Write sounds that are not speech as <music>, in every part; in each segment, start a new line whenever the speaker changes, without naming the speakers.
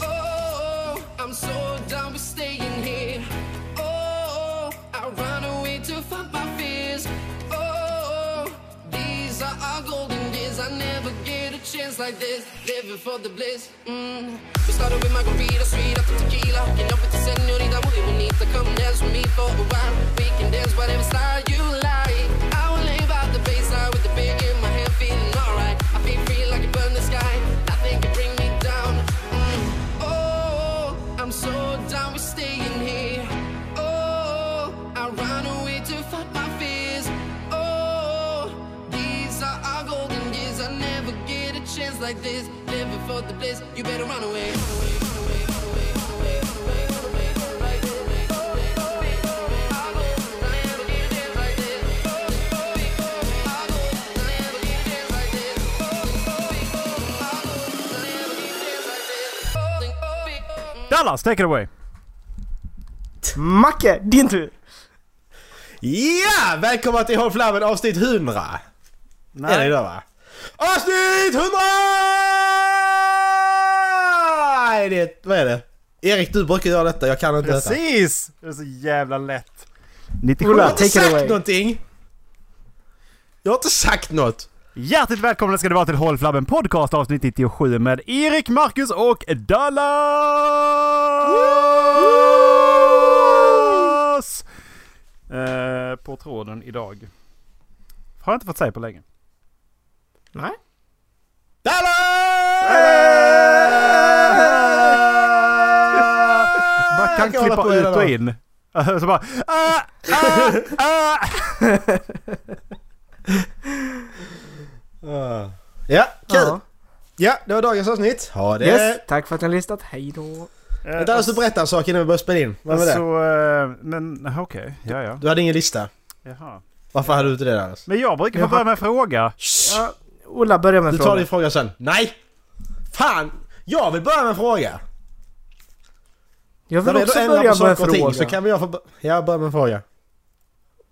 Oh, Oh, Oh, chance like this, living for the bliss. Mm. We started with margarita, sweet up to tequila, hooking up with the senorita, muy bonita. Come dance with me for a while. We can dance whatever style you like. I will live out the baseline with the big in my hand, feeling alright. I feel free like a bird in the sky. Nothing can bring me down. Mm. Oh, I'm so down with staying here. Oh, I run away to fight my fears. Oh, these are our golden years. I never get a chance like this. Living for the bliss, you better run away.
Dallas, take it away!
Macke, din tur!
Ja! Välkomna till Håll Flabben avsnitt 100! Är det idag va? Avsnitt 100! Nej, det, är- vad är det? Erik, du brukar göra detta. Jag kan inte detta.
Precis! Det är så jävla lätt.
97,
Jag har inte
take it
sagt
away.
någonting! Jag har inte sagt något!
Hjärtligt välkomna ska det vara till Håll Flabben Podcast avsnitt 97 med Erik, Marcus och Dallas! Eh, på tråden idag. Har jag inte fått säga på länge.
Nej.
Dallas!
Man Eh, kan
Jag hålla på
klippa ut
hela
och
dagen.
in. <laughs> Så bara... Ah, ah, ah.
Ah. Ja, kul!
Ja.
Ja, det var dagens avsnitt. Ha det!
Yes, tack för att ni har lyssnat. Hej då.
Eh,
Dallas, du berättade en sak innan vi började spela in. Vad var det?
Så, eh, men okej, ja ja.
Du hade ingen lista.
Jaha.
Varför hade du inte det Dallas?
Men jag brukar få
Jaha.
börja med en fråga.
Ja, Ola, börja med
Du
en
tar
fråga.
din fråga sen. Nej! Fan! Jag vill börja med en fråga!
Jag
När
vill
vi
också
ändå ändrar
börja
på
med en
saker och
fråga.
så kan vi jag få... Jag börjar med en fråga.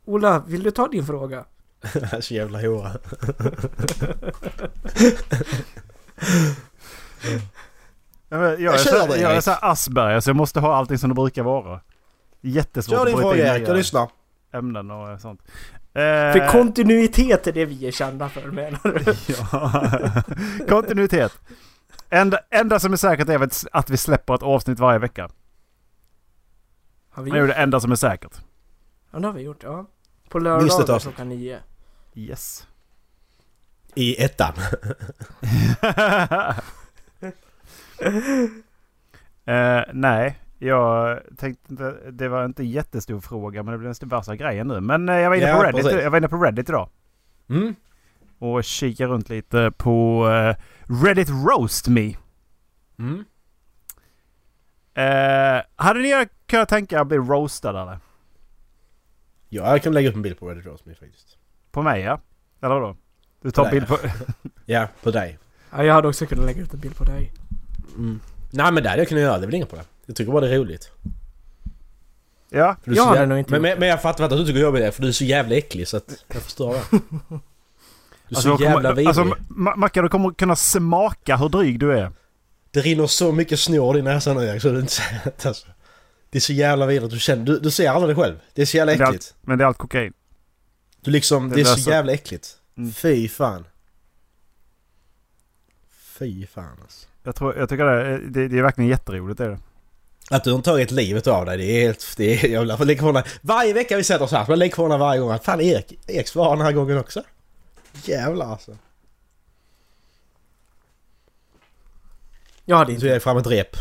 Ola, vill du ta din fråga?
Eh. så jävla hora.
Ja, men Jag är,
Jag
så,
kör dig,
jag är
Erik.
så här Asperger så jag måste ha allting som det brukar vara. Jättesvårt
Kör
att
din
bryta in
fråga Erik, jag
nya
lyssnar.
ämnen och eh, sånt.
För
Eh,
kontinuitet är det vi är kända för menar du?
<laughs> ja. Kontinuitet. Enda, enda som är säkert är väl att vi släpper ett avsnitt varje vecka.
Har vi
Det är ju
gjort?
det enda som är säkert.
Ja, det har vi gjort. Ja. På
Minst ett
lördagar
avsnitt.
klockan nio.
Yes.
I ettan.
<laughs> Eh, nej, jag tänkte inte, det var inte en jättestor fråga men det blev den värsta grejen nu. Men eh, jag, var inne
Ja,
på Reddit,
precis.
jag var inne på Reddit idag
Mm.
och kikade runt lite på eh, Reddit Roast Me.
Mm.
Eh, hade ni kunnat tänka er att bli roastade eller?
Ja, jag kan lägga upp en bild på Reddit Rose Me faktiskt.
På mig ja? Eller vadå? Du tar
På
bild på...
Ja, på dig.
Ja, jag hade också kunnat lägga ut en bild på dig.
Nej men det hade jag kunnat göra, det är väl inget problem. Jag tycker bara det är roligt.
ja,
För du är
Jag
så
hade
jäv-
nog inte
men,
gjort
men, men jag fattar inte att du tycker jag är det, för du är så jävla äcklig så att jag förstår det. Du är så
jag
jävla
kommer,
vidrig.
alltså, Ma- Mackan du kommer kunna smaka hur dryg du är.
Det rinner så mycket snor i din näsa nu Erik så du inte ser det alltså. Det är så jävla vidrigt, du känner, du, du ser aldrig det själv. Det är så jävla
Men det är
äckligt.
allt- Men det är allt kokain.
Du liksom, det,
Det
är så
löser-
jävla äckligt.
Mm.
Fy fan. Fy fan alltså.
Jag, tror, jag tycker det, det, det är verkligen jätteroligt det är det.
Att du har tagit livet av dig, det är helt... Det är, jag blir lika förvånad. Varje vecka vi sätter oss här, så jag blir lika förvånad varje gång. att Fan Erik, Erik svarar den här gången också. Jävlar alltså.
Jag hade
Så
inte.
jag är fram ett rep.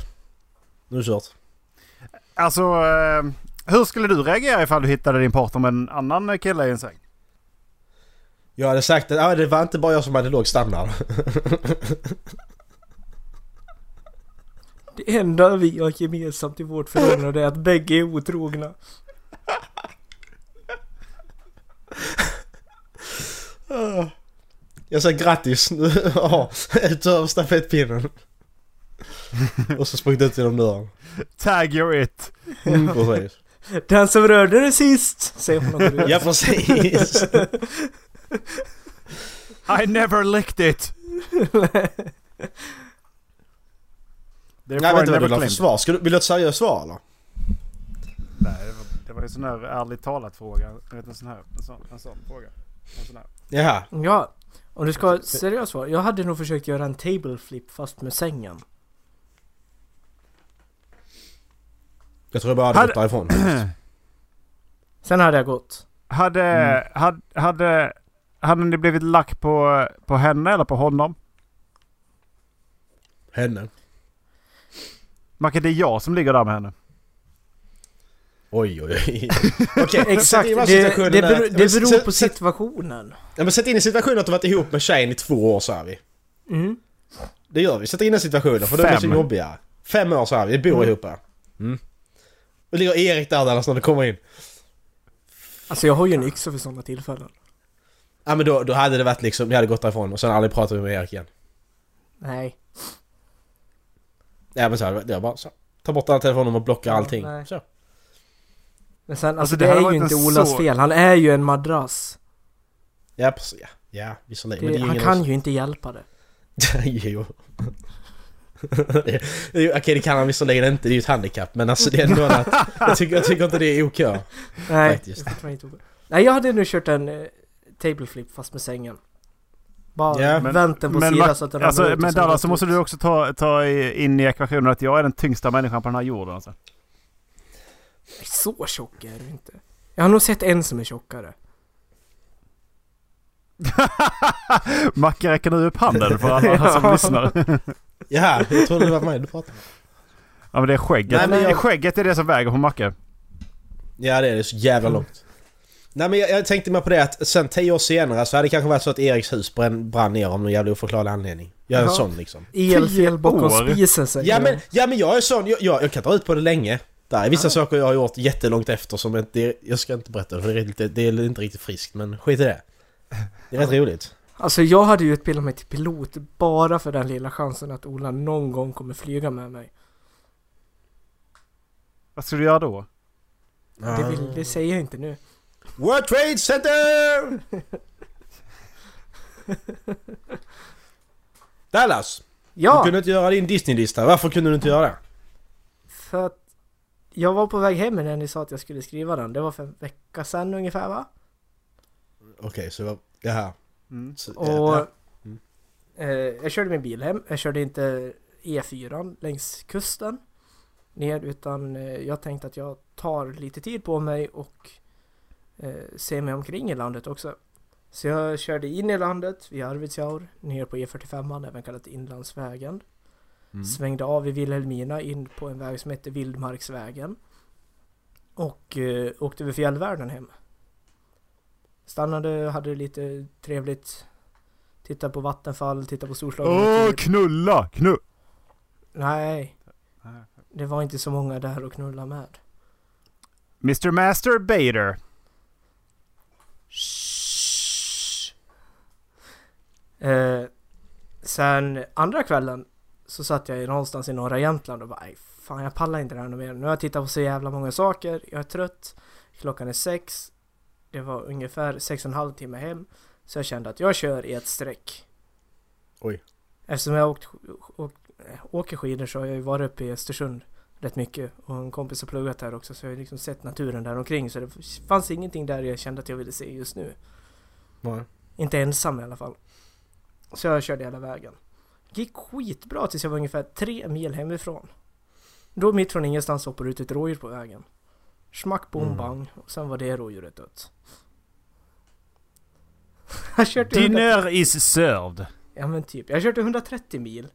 Nu är det kört.
Alltså, eh, hur skulle du reagera ifall du hittade din partner med en annan kille i en säng?
Jag hade sagt att ah, det var inte bara jag som hade låg standard.
Det enda vi har gemensamt i vårt förhållande är att bägge är otrogna.
Jag sa grattis, nu <laughs> ja, ut över stafettpinnen. Och så sprungit ut genom dörren.
Tag you're it!
Mm, precis.
Den som rörde dig sist, säger hon och går ut.
Ja precis.
I never licked <laughs> it! Therefore
Jag vet inte
I
vad du
never
vill ha för
claimed.
svar. Ska du, vill du ha ett seriöst svar eller?
Nej, det var- det var ju en sån här ärligt talat fråga. Jag vet en sån här, en sån, en sån fråga. En sån här.
Jaha.
Ja. Om du ska ha ett seriöst svar. Jag hade nog försökt göra en table flip fast med sängen.
Jag tror jag bara hade
Hade-
gått därifrån.
Sen hade jag gått.
Hade, hade, hade, hade ni blivit lack på, på henne eller på honom?
Henne.
Macke, det är jag som ligger där med henne.
Oj, oj, oj. <laughs> Okej, sätt
Exakt,
in
det,
den här situationen att-
det, beror, det
Ja, men
beror
sätt-
på
sätt-
situationen.
Ja, men sätt in i situationen att du varit ihop med tjejen i två år så här vi.
Mm.
Det gör vi. Sätter in den situationen för de är så
Fem.
jobbiga. Fem år så här, vi bor ihop. här. Mm. Och ligger Erik där annars när du kommer in.
Alltså jag har ju en yxa för sådana tillfällen.
Ja men då, då hade det varit liksom, ni hade gått därifrån och sen aldrig pratat med Erik igen.
Nej.
Ja men så här, det var bara så. Ta bort alla telefoner och blocka
Ja,
allting.
nej.
så.
Men sen, alltså,
Alltså, det
det,
hade
är
varit
ju
en
inte Olas
så-
fel. Han är ju en madrass.
Ja precis, ja. Ja visserligen.
Det,
Men det är ju
han
ingen
kan ju inte hjälpa det.
<laughs> jo. Det- det är ju- Okej det kan han visserligen inte, det är ju ett handikapp. Men alltså det är ändå att,
<laughs>
jag tycker, jag tycker inte det är okej.
Nej,
Faktiskt.
det fattar jag inte. Nej, jag hade nu kört en eh, table flip fast med sängen. Bara
Ja,
men-
vänt den på sidan
Mac-
så att den ramlar
alltså,
ut och
men
sen
Dallas, så
rakt
måste
ut.
du också ta, ta i- in i ekvationen att jag är den tyngsta människan på den här jorden. <laughs> Alltså.
Så tjock är du inte. Jag har nog sett en som är tjockare.
Macke räcker nu upp handen för alla som lyssnar.
Ja, jag trodde det var mig du pratade med.
Ja men det är skägget.
Nej, men jag-
Skägget är det som väger på Macke.
Ja det är det, så jävla långt. Nej men jag, jag tänkte mig på det att sen tio år senare så hade det kanske varit så att Eriks hus brann, brann ner av någon jävla oförklarlig anledning. Jag är en
Ja.
sån liksom.
Elfel bakom
år.
spisen säger
Ja
jag.
men, ja men jag är sån, jag, jag, jag kan dra ut på det länge. Där är vissa saker jag har gjort jättelångt efter som inte, det- jag ska inte berätta för det är, lite, det är inte riktigt friskt men skit i det. Det är rätt roligt.
Alltså jag hade ju utbildat mig till pilot bara för den lilla chansen att Ola någon gång kommer flyga med mig.
Vad ska du göra då?
Det, vill, det säger jag inte nu.
World Trade Center! Dallas! Du
Ja!
kunde inte göra din Disney-lista, varför kunde du inte göra det?
För att jag var på väg hem när ni sa att jag skulle skriva den. Det var för en vecka sedan ungefär va?
Okej, så det var... Jaha.
Mm.
Så,
Och
ja. Mm.
eh, jag körde min bil hem. Jag körde inte E4 längs kusten ner utan eh, jag tänkte att jag tar lite tid på mig och eh, ser mig omkring i landet också. Så jag körde in i landet via Arvidsjaur ner på E45, även kallat Inlandsvägen.
Mm.
Svängde av i Vilhelmina in på en väg som heter Vildmarksvägen. Och eh, åkte över fjällvärlden hem. Stannade, hade lite trevligt. Tittade på vattenfall, tittade på storslagen natur.
knulla! Knu...
Nej, det var inte så många där att knulla med.
Mr Master Bader.
Eh, sen andra kvällen så satt jag någonstans i norra Jämtland och bara "Aj, fan jag pallar inte det här nu mer. Nu har jag tittat på så jävla många saker, jag är trött, klockan är sex, det var ungefär sex och en halv timme hem. Så jag kände att jag kör i ett streck.
Oj.
Eftersom jag åkt, åk, åker skidor så har jag ju varit uppe i Östersund rätt mycket och en kompis har pluggat där också så jag har liksom sett naturen där omkring så det fanns ingenting där jag kände att jag ville se just nu.
Nej.
Inte ensam i alla fall. Så jag körde hela vägen. Gick skitbra tills jag var ungefär tre mil hemifrån. Då mitt från ingenstans hoppar ut ett rådjur på vägen. Smack, bom,
Mm.
bang. Och sen var det rådjuret dött. <laughs> Jag körde 100
Dinner is served.
Ja men typ. Jag körde 130 mil.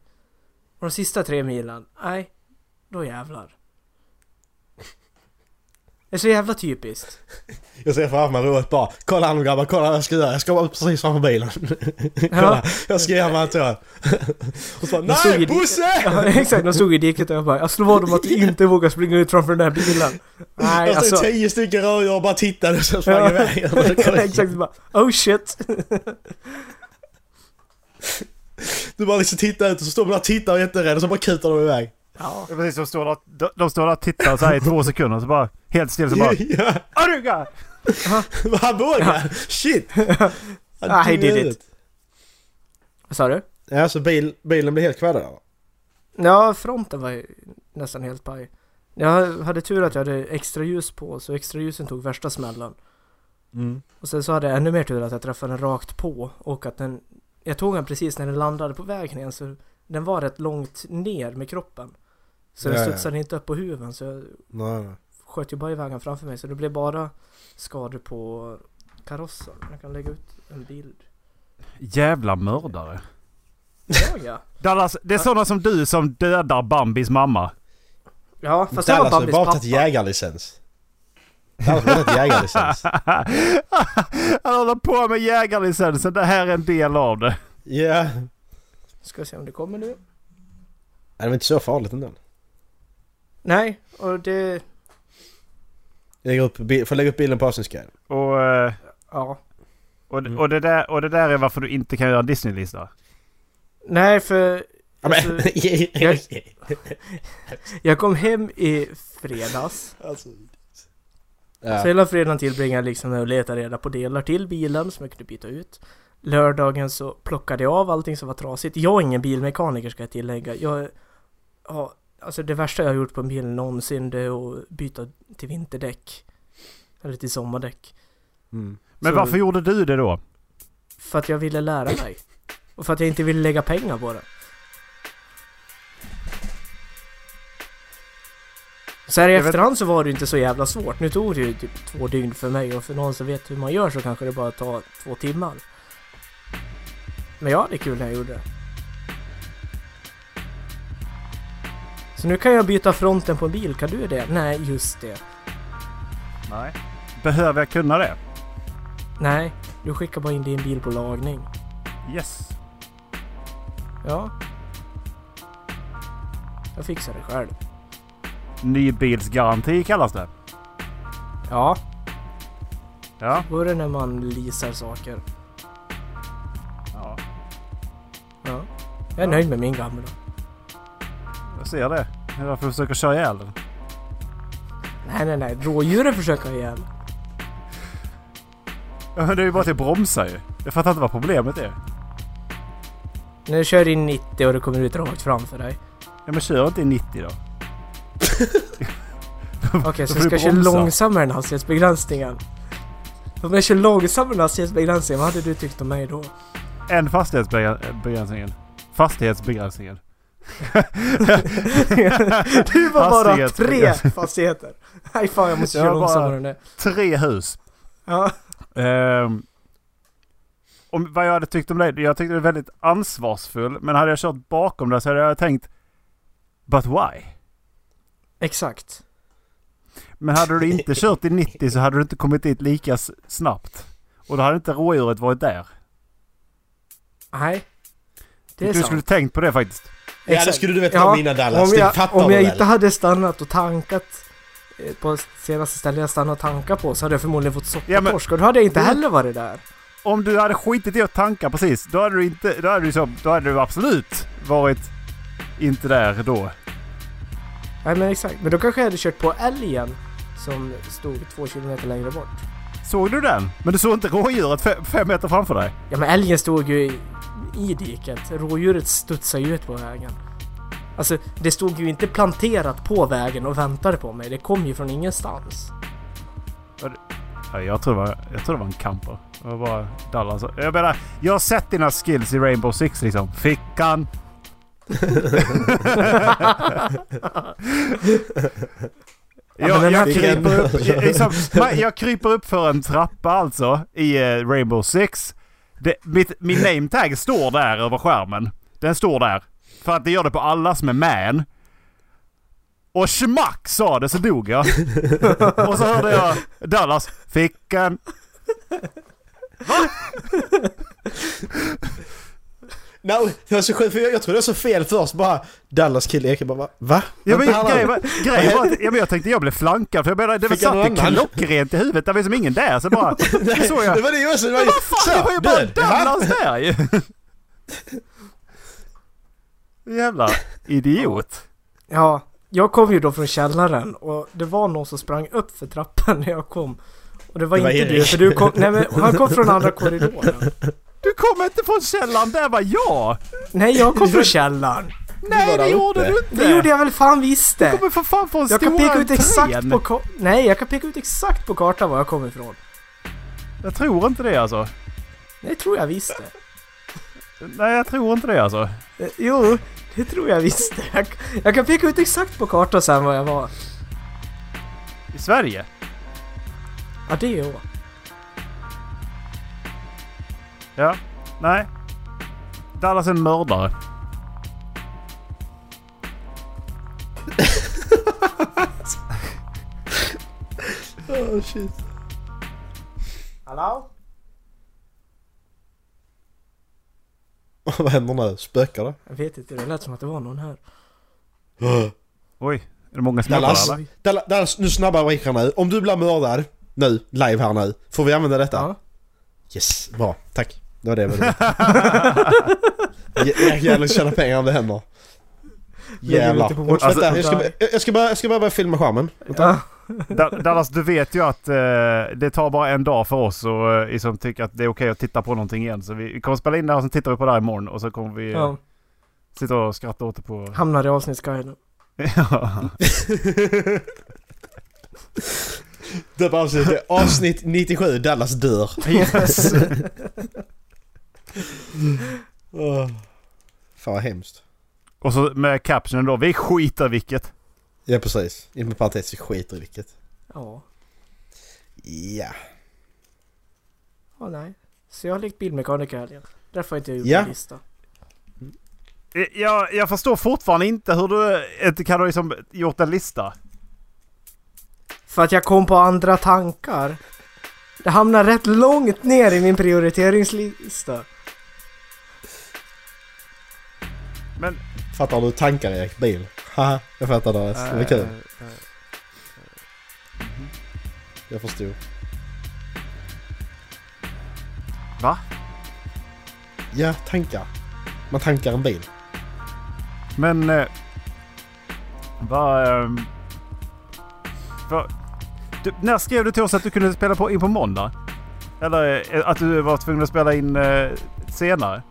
Och de sista tre milen, nej. Då jävlar. Det är så jävla typiskt.
Jag ser framför mig Robert bara Kolla han grabbar, kolla vad jag ska göra. Jag ska vara precis framför bilen. kolla, jag ska göra vad han tar. Och så bara,
stod ju
NEJ
dit-
BOSSE!
Ja, exakt, de stod i diket och jag bara Jag slår vad om att inte våga springa ut framför den här bilen. Nej,
Jag stod
alltså.
tio stycken rödjur och bara tittade och sen sprang
Ja.
iväg. Och så kollade jag.
<laughs> exakt, bara oh shit.
Du bara liksom tittar ut och så står man där och tittar och är jätterädd och så bara kutar de iväg.
Ja.
Precis, de står där, de, de står där och tittar så här i två sekunder så bara helt still så bara...
<laughs> Ja.
Aruga!
Han vågar!
<laughs>
Shit! Han
Ah, he
tog
did
huvudet.
it. Vad sa du?
Ja, alltså bil, bilen blev helt kvaddad eller?
Ja, fronten var ju nästan helt paj. Jag hade tur att jag hade extra ljus på så extra ljusen tog
Mm.
värsta smällen. Och sen så hade jag ännu mer tur att jag träffade den rakt på och att den Jag tog den precis när den landade på vägen igen så den var rätt långt ner med kroppen. Så
Ja,
den
ja.
studsade inte upp på huven så jag
Nej, nej.
sköt ju bara iväg den framför mig så det blev bara skador på karossen. Jag kan lägga ut en bild.
Jävla mördare.
Ja, ja.
Dallas, det är sådana som du som dödar Bambis mamma.
<laughs>
ja fast det var
Dallas har
Bambis
bara
pappa.
tagit jägarlicens. Dallas har bara tagit <laughs> jägarlicens.
Han håller på med jägarlicensen. Det här är en del av det.
Ja.
Ska se om det kommer nu.
Nej, Det var inte så farligt ändå.
Nej, och det...
Jag lägger upp, bi- får lägga upp bilden på Avsnitt Sky.
Och, eh,
Ja.
och, och, det där, och det där är varför du inte kan göra en Disney-lista.
Nej, för
Ja, men-
Alltså, jag-
<laughs>
jag kom hem i fredags.
Alltså.
Så
Ja.
hela fredagen tillbringade jag liksom med att leta reda på delar till bilen som jag kunde byta ut. Lördagen så plockade jag av allting som var trasigt. Jag är ingen bilmekaniker ska jag tillägga. Jag har, alltså det värsta jag har gjort på en bil någonsin det är att byta till vinterdäck. Eller till sommardäck.
Mm.
Men
Så-
varför gjorde du det då?
För att jag ville lära mig. Och för att jag inte ville lägga pengar på det. Så här i
Jag vet-
efterhand så var det ju inte så jävla svårt. Nu tog det ju typ två dygn för mig och för någon som vet hur man gör så kanske det bara tar två timmar. Men jag hade kul när jag gjorde det. Så nu kan jag byta fronten på en bil, kan du det? Nej, just det.
Nej. Behöver jag kunna det?
Nej, du skickar bara in din bil på lagning.
Yes.
Ja. Jag fixar det själv.
Nybilsgaranti kallas det.
Ja.
Ja.
Vore när man leasar saker.
ja.
Ja. Jag är nöjd med min gamla.
Jag ser det. Det är därför du försöker köra ihjäl den.
Nej, nej, nej. Rådjuren försöker jag ihjäl.
Ja, men Det är ju bara till att bromsa ju. Jag fattar inte vad problemet är.
När du kör in 90 och det kommer ut rakt framför dig.
Ja men kör inte i 90 då.
Okej, så
får
jag ska
du
köra
bromsa.
långsammare än hastighetsbegränsningen. Om jag kör långsammare än hastighetsbegränsningen, vad hade du tyckt om mig då? <laughs>
Än fastighetsbegränsningen. Fastighetsbegränsningen.
Du var bara tre
Hastighetsbegränsning.
fastigheter. Nej, fan jag måste
Jag
köra
bara-
långsammare nu.
Tre hus.
Ja.
Ehm, om vad jag hade tyckt om dig? Jag tyckte du var väldigt ansvarsfull. Men hade jag kört bakom dig så hade jag tänkt But why?
Exakt.
Men hade du inte kört i 90 så hade du inte kommit dit lika s- snabbt. Och då hade inte rådjuret varit där.
Nej. Det
Du
är sant.
skulle tänkt på det faktiskt.
ja, det
Exakt.
skulle du veta
Ja,
om innan Dallas.
Om
Det
jag,
fattar
om
du
jag
väl?
inte hade stannat och tankat eh, på senaste stället jag stannade och tankade på så hade jag förmodligen fått
Ja, men-
soppatorsk och då hade jag inte
Mm.
heller varit där.
Om du hade skitit i att tanka precis, då hade du inte... Då hade du, så, då hade du absolut varit inte där då.
Nej men exakt, men då kanske jag hade kört på älgen som stod två kilometer längre bort.
Såg du den? Men du såg inte rådjuret fe- fem meter framför dig?
Ja men älgen stod ju i, i diket, rådjuret studsade ju ut på vägen. Alltså det stod ju inte planterat på vägen och väntade på mig, det kom ju från ingenstans.
Ja, Eh, jag, tror det var, jag tror det var en camper. Det var bara Dallas. Jag menar, jag har sett dina skills i Rainbow Six liksom.
<laughs>
Fickan!
Ja, men
jag,
den här
jag, kryper upp, jag, liksom, ma- jag kryper upp för en trappa alltså i eh, Rainbow Six. Det, mitt, min nametag står där över skärmen. Den står där. För att det gör det på alla som är med en. Och schmack sa det så dog jag. Och så hörde jag Dallas. Fickan.
No, det var så skönt, för jag, jag trodde jag sa fel först bara. Dallas kille Ekeberg bara va?
Ja, men,
Vänta, han-
grejen var, grejen var att, ja, men jag tänkte jag blev flankad för jag menar, det var
Fick jag
satt
någon
det
annan?
klockrent i huvudet. Det var som ingen där så
<laughs>
bara... Det såg jag.
Det var det jag sa. Det var ju...
Vad fan, det var ju bara Dallas där ju! Jävla idiot.
Ja, jag kom ju då från källaren och det var någon som sprang upp för trappan när jag kom. Och det var,
Det var
inte du,
Erik.
för du kom, nej men han kom från andra korridoren.
Du kom inte från källaren, där var jag!
Nej, jag kom från källaren.
Nej,
var
det
där
gjorde
uppe.
du inte!
Det gjorde jag väl fan visst
Du
det!
kommer för fan från
Jag
stora
kan peka ut exakt
entrén.
på ka- Nej, jag kan peka ut exakt på kartan var jag kommer ifrån.
Jag tror inte det alltså.
Det tror jag visst det.
Nej, jag tror inte det alltså.
Eh, Jo, det tror jag visst. Jag, jag kan peka ut exakt på kartan sen var jag var.
I Sverige?
Ja, det är jag.
Ja. Nej. Dallas är en mördare.
Oh, shit.
Hallå?
Vad händer nu? Spökar det?
Jag vet inte, det lät som att det var någon här.
Oj, är det många som
Dallas,
jobbar där, eller?
Dallas, Dallas, nu snabbare vi kan nu. Om du blir mördad nu, live här nu, får vi använda detta?
Ja.
Yes, bra. Tack. Det var det jag ville <laughs> veta. Jag kan tjäna pengar om det händer.
Lägger vi
Jävlar.
inte på vårt
Vänta, jag, ska,
företag.
jag, ska bara, jag ska bara börja filma skärmen.
Ja.
Da- Dallas, du vet ju att eh, det tar bara en dag för oss och, eh, som tycker att det är okej att titta på någonting igen. Så vi, vi kommer spela in det här och sen tittar vi på det här imorgon och så kommer vi eh,
Ja.
sitta och skratta åt det på... <laughs>
Hamnar i avsnittsguiden.
ja.
Det var avsnitt, avsnitt 97, Dallas dör.
Yes.
Oh. Fan vad hemskt.
och så med captionen då. Vi skiter vilket.
Ja precis. Inom parentes, vi skiter i vilket.
Ja.
Ja.
Ja, nej. Så jag har lekt bilmekaniker i helgen. Därför har inte jag gjort
Ja.
min lista.
Eh, Jag, jag förstår fortfarande inte hur du inte kan ha liksom gjort en lista.
För att jag kom på andra tankar. Det hamnar rätt långt ner i min prioriteringslista.
Men...
Fattar du tankar Erik? Bil? Haha, jag fattar Dallas. Det var kul.
Eh, eh,
Jag förstod.
Va?
Ja, tankar. Man tankar en bil.
Men... Eh, vad... ehm, vad du, när skrev du till oss att du kunde spela på, in på måndag? Eller eh, att du var tvungen att spela in eh, senare?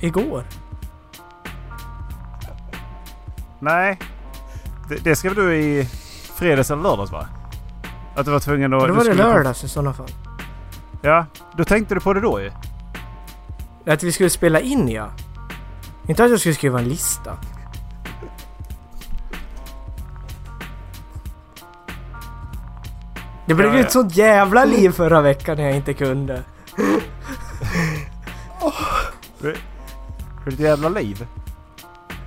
Igår.
Nej. Det, det skrev du i fredags eller lördags va? Att du var tvungen att...
Då
du
var det
skulle-
lördags i sådana fall.
Ja. Då tänkte du på det då ju.
Att vi skulle spela in ja. Inte att jag skulle skriva en lista. Det blev
Ja,
ju
ja. Mm.
ett sånt jävla liv förra veckan när jag inte kunde.
För ditt jävla liv.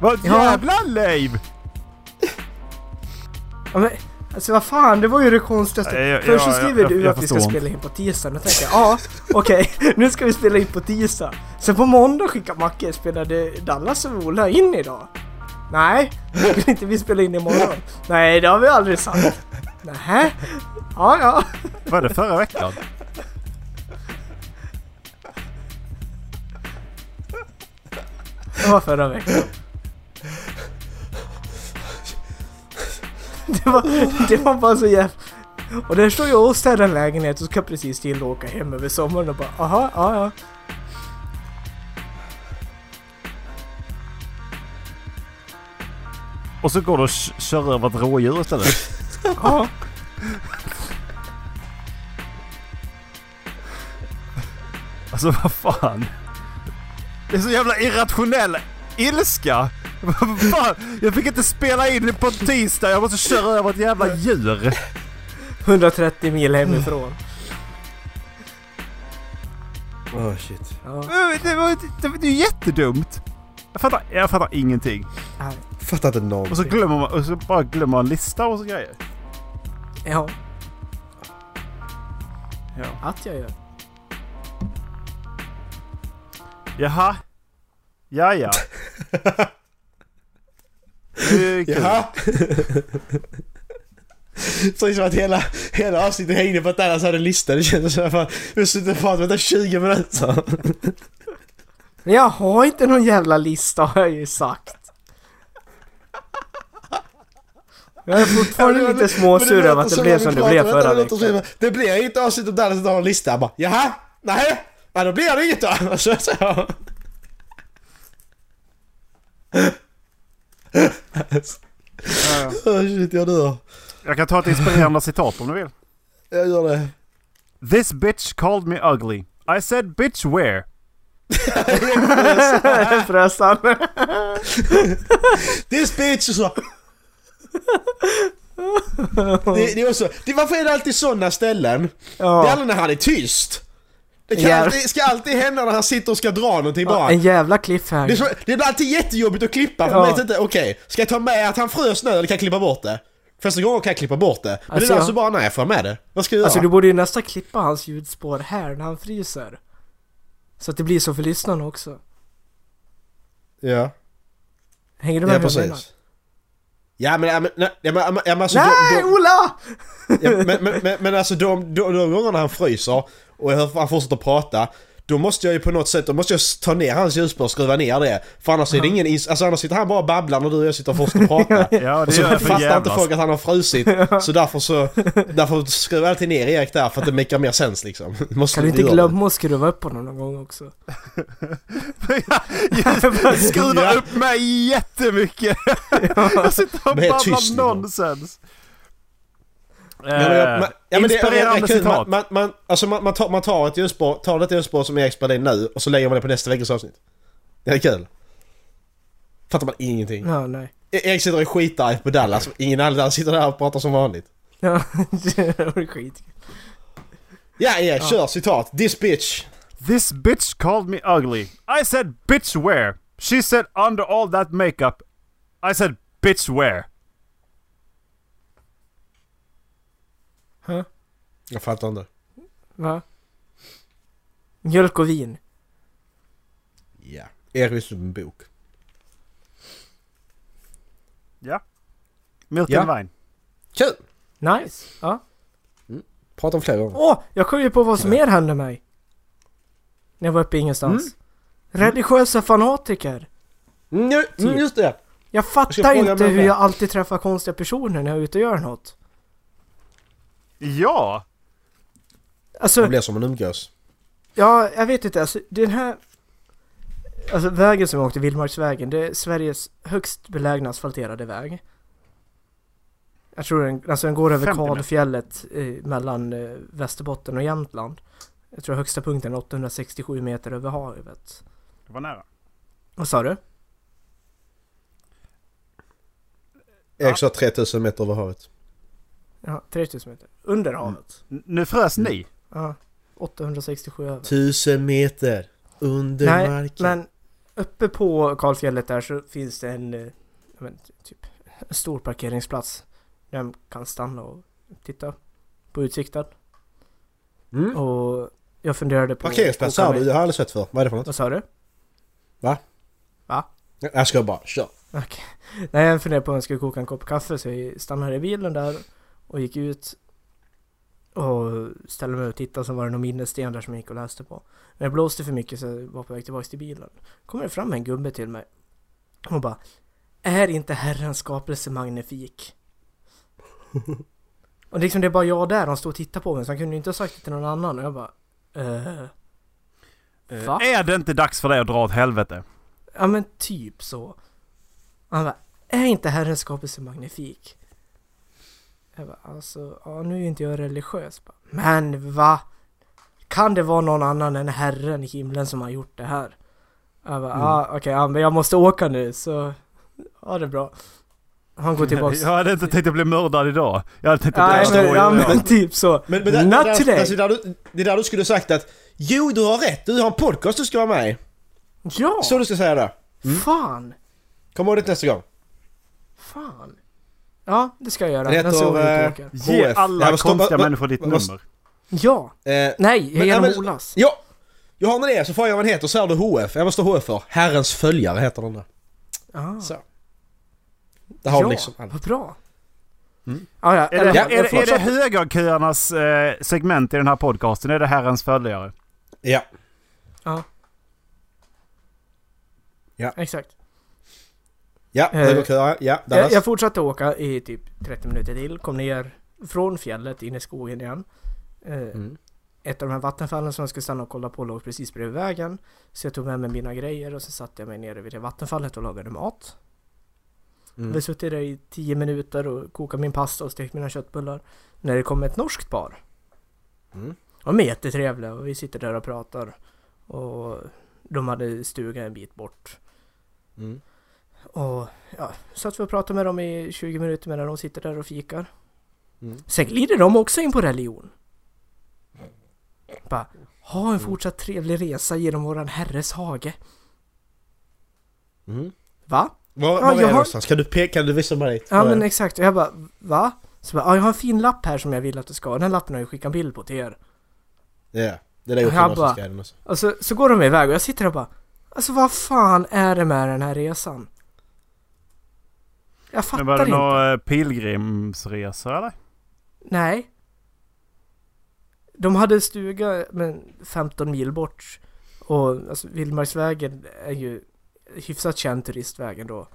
Vad
Ja.
jävla liv!
Ja, men, alltså vad fan, det var ju det konstigaste.
Ja, ja,
Först så
ja,
skriver
jag-
du
jag
att vi ska
förstår.
spela in på tisdagen och tänker jag, ja, okej, <laughs> nu ska vi spela in på tisdag. Sen på måndag skickar Macke, spelade Dallas och Ola in idag? Nej, skulle inte vi spela in imorgon? Nej, det har vi aldrig sagt. Nähä? Ja, ja.
Var det förra veckan?
Det var förra veckan. <laughs> Det var, det var bara så jävla... Och där står jag och städar en lägenhet och ska precis till att åka hem över sommaren och bara aha, ja ja.
Och så går du och k- kör över ett rådjur istället.
Ja.
Alltså vad fan. Det är så jävla irrationell ilska. <laughs> Vad fan? Jag fick inte spela in det på en tisdag. Jag måste köra över ett jävla djur.
130 mil hemifrån.
Oh shit.
Ja.
Det var det var- det är ju jättedumt. Jag fattar, jag fattar ingenting.
nej.
Fattar inte någon.
Och så glömmer man, och så bara glömmer man lista och så grejer.
Ja.
Ja.
Att jag gör.
Jaha. Ja, ja. Det är kul.
Jaha! <laughs> Precis som att hela, hela avsnittet hängde på att Dallas hade en lista. Det kändes som att vi har suttit och pratat vänta 20 minuter.
Men jag har inte någon jävla lista har jag ju sagt. Jag är fortfarande lite småsur över att det blev som det blev förra veckan.
veckan. Det blir inget avsnitt om Dallas inte har en lista. Jag bara, Jaha? Nej? Ja, då blir det inget då. <laughs> Så, så.
Ja, ja.
<laughs> Oh, shit, jag dör.
Jag kan ta ett inspirerande citat om du vill.
Jag gör det.
This bitch called me ugly. I said bitch where?
<laughs> Frös han.
This bitch! Och så. Det, det är också, det, varför är det alltid sådana ställen? Det är
Ja.
aldrig när han är tyst. Det kan
Jävlar.
alltid, ska alltid hända när han sitter och ska dra någonting bara.
En jävla
Det, är
cliffhanger.
så, det blir alltid jättejobbigt att klippa för
Ja.
man vet inte, okej, ska jag ta med att han frös nu eller kan jag klippa bort det? Första gången kan jag klippa bort det, men
Alltså,
det är
jag-
alltså bara, nej jag får med det. Vad ska jag göra?
Alltså du borde ju nästan klippa hans ljudspår här när han fryser. Så att det blir så för lyssnarna också.
ja,
Hänger du med
ja
vad jag menar?
precis. Ja men, ja men, nej, ja, men, ja, men, ja, men alltså,
Nej
de,
Ola!
de, ja, men, men, men, men alltså de, de, de gångerna han fryser och jag hör han fortsätter prata, då måste jag ju på något sätt, då måste jag ta ner hans ljusspår och skruva ner det. För annars är det ingen, ins- alltså annars sitter han bara och babblar när du och jag sitter
<laughs>
och fortsätter prata.
Ja, det
Och så
gör jag för
fattar inte
jävlas.
folk att han
<laughs>
har frusit, så därför så... Därför skruvar jag alltid ner Erik där för att det makar mer sens liksom. <laughs> Måste
Kan du inte
göra det.
glömma att skruva upp honom någon gång också?
Skruva
Ja.
upp mig jättemycket! jag sitter och
Men helt
babblar
tyst nu.
nonsens.
Ja, men jag- men- ja, men det-
Eh, Inspirerande
det är kul.
citat.
Man, man, man, alltså man, man, tar, man tar ett ljusspår, tar det ett ljusspår som Erik spelar in nu och så lägger man det på nästa veckas avsnitt. Det är kul. Fattar man ingenting.
Ja, nej. <laughs>
E- Erik sitter och är skitarg på Dallas, ingen annan där sitter där och pratar som vanligt.
Ja, det var skit.
Ja Erik, kör citat. This bitch.
This bitch called me ugly. I said bitch where? She said under all that makeup. I said bitch where?
Jag fattar inte.
Va? Mjölk och vin.
Ja. Erik visste en bok.
Ja. Milk
Ja.
and wine.
Kul!
Nice! Ja.
Prata om fler gånger.
Åh! Jag kom ju på vad som mer hände mig. När jag var uppe i ingenstans. Religiösa fanatiker.
Mm, ju- mm, just det!
Jag
ska
fattar
fråga
inte
mig
hur
det.
jag alltid träffar konstiga personer när jag är ute och gör något.
Ja!
Alltså,
Det blir som en umgås.
ja, jag vet inte. Alltså, den här... Alltså vägen som jag åkte, Vildmarksvägen, det är Sveriges högst belägna asfalterade väg. Jag tror den, alltså den går över
50 meter.
Kalfjället eh, mellan eh, Västerbotten och Jämtland. Jag tror högsta punkten är 867 meter över havet.
Det var nära.
Vad sa du?
Erik sa 3000 meter över havet.
Ja, 3000 meter. Under havet.
N- nu frös ni.
Ja, 867 över.
1000 meter under
Nej,
marken.
Men uppe på Karlfjället där så finns det en, eh, jag vet, inte, typ, en stor parkeringsplats. Där man kan stanna och titta på utsikten.
Mm.
Och jag funderade på...
Parkeringsplats
åka
sa du,
med-
jag har aldrig sett för. Vad är det för något?
Vad sa du?
Jag ska bara, kör.
Okej. Nej, jag funderade på om jag skulle koka en kopp kaffe så jag stannade i bilen där och gick ut och ställde mig och tittade så var det någon minnessten där som jag gick och läste på. När det blåste för mycket så jag var på väg tillbaka till bilen. kommer det fram en gubbe till mig och bara Är inte Herrens skapelse magnifik? och liksom det är bara jag där, de står och tittar på mig så han kunde ju inte ha sagt det till någon annan och jag bara eh, Mm. Va?
Är det inte dags för dig att dra åt helvete?
Ja men typ så. Han bara, är inte Herrens skapelse magnifik? Jag bara, alltså, ja nu är ju inte jag religiös. Bara, men va? Kan det vara någon annan än Herren i himlen som har gjort det här? Jag
Mm.
bara, ah, okej, ja, men jag måste åka nu så, ja det är bra. Han
<laughs>
går tillbaks.
Jag hade inte tänkt att bli mördad idag. Jag hade tänkt att
Nej,
det
men,
var
ja,
jag.
men typ så.
Men, men där,
Not
där,
today.
Alltså, det, där du, det där du skulle sagt att Jo, du har rätt, du har en podcast du ska vara med i.
Ja!
Så Mm. du ska säga det.
Fan!
Kom ihåg det till nästa gång.
Fan! Ja, det ska jag göra.
Det heter,
Nästa gång vi
eh,
åker.
Ge
HF.
alla
Ja, men stopp,
konstiga
va- va-
människor ditt
vad-
nummer.
Ja!
Eh,
Nej,
Men-
genom
ja, men-
Olas.
ja, jag har med det, så får jag vad den heter så är det HF. Jag måste HF för. Herrens följare heter den där.
Ah.
Så. Det har
ja,
vi liksom Mm. allt.
vad bra. Ja, ja,
Är det,
ja,
är, det, är det
fortsätt.
högerköernas eh, segment i den här podcasten? Är det herrens följare?
Ja.
Ja.
Ja.
Exakt.
Ja,
Eh,
högerköra. Ja,
Jag,
Dallas.
jag fortsatte åka i typ 30 minuter till, kom ner från fjället in i skogen igen. Eh,
Mm.
Ett av de här vattenfallen som jag skulle stanna och kolla på låg precis bredvid vägen. Så jag tog med mig mina grejer och så satte jag mig nere vid det vattenfallet och lagade mat.
Mm.
Vi har suttit där i 10 minuter och kokat min pasta och stekt mina köttbullar. När det kom ett norskt par.
Mm.
De är jättetrevliga och vi sitter där och pratar. Och De hade stuga en bit bort.
Mm.
Och ja, så att vi pratar med dem i 20 minuter medan de sitter där och fikar.
Mm.
Sen glider de också in på religion. Bara, ha en fortsatt trevlig resa genom våran herres hage.
Mm.
Va?
Var,
Ja,
var är
jag
det
har-
någonstans? Kan du, peka, kan du visa mig dit?
Ja
Var är
men
det?
exakt, och jag bara, va? Så bara, ja, jag har en fin lapp här som jag vill att du ska ha. Den här lappen har jag skickat en bild på till er.
Ja, det är där jag
Jag
också
bara-
någonstans ska jag någonstans.
Och så, Alltså, så går de iväg och jag sitter där och bara, alltså vad fan är det med den här resan? Jag
Men var
fattar
det
inte.
några eh, pilgrimsresor eller?
Nej. De hade stuga men 15 mil bort. Och alltså, Vildmarksvägen är ju hyfsat känd turistväg ändå.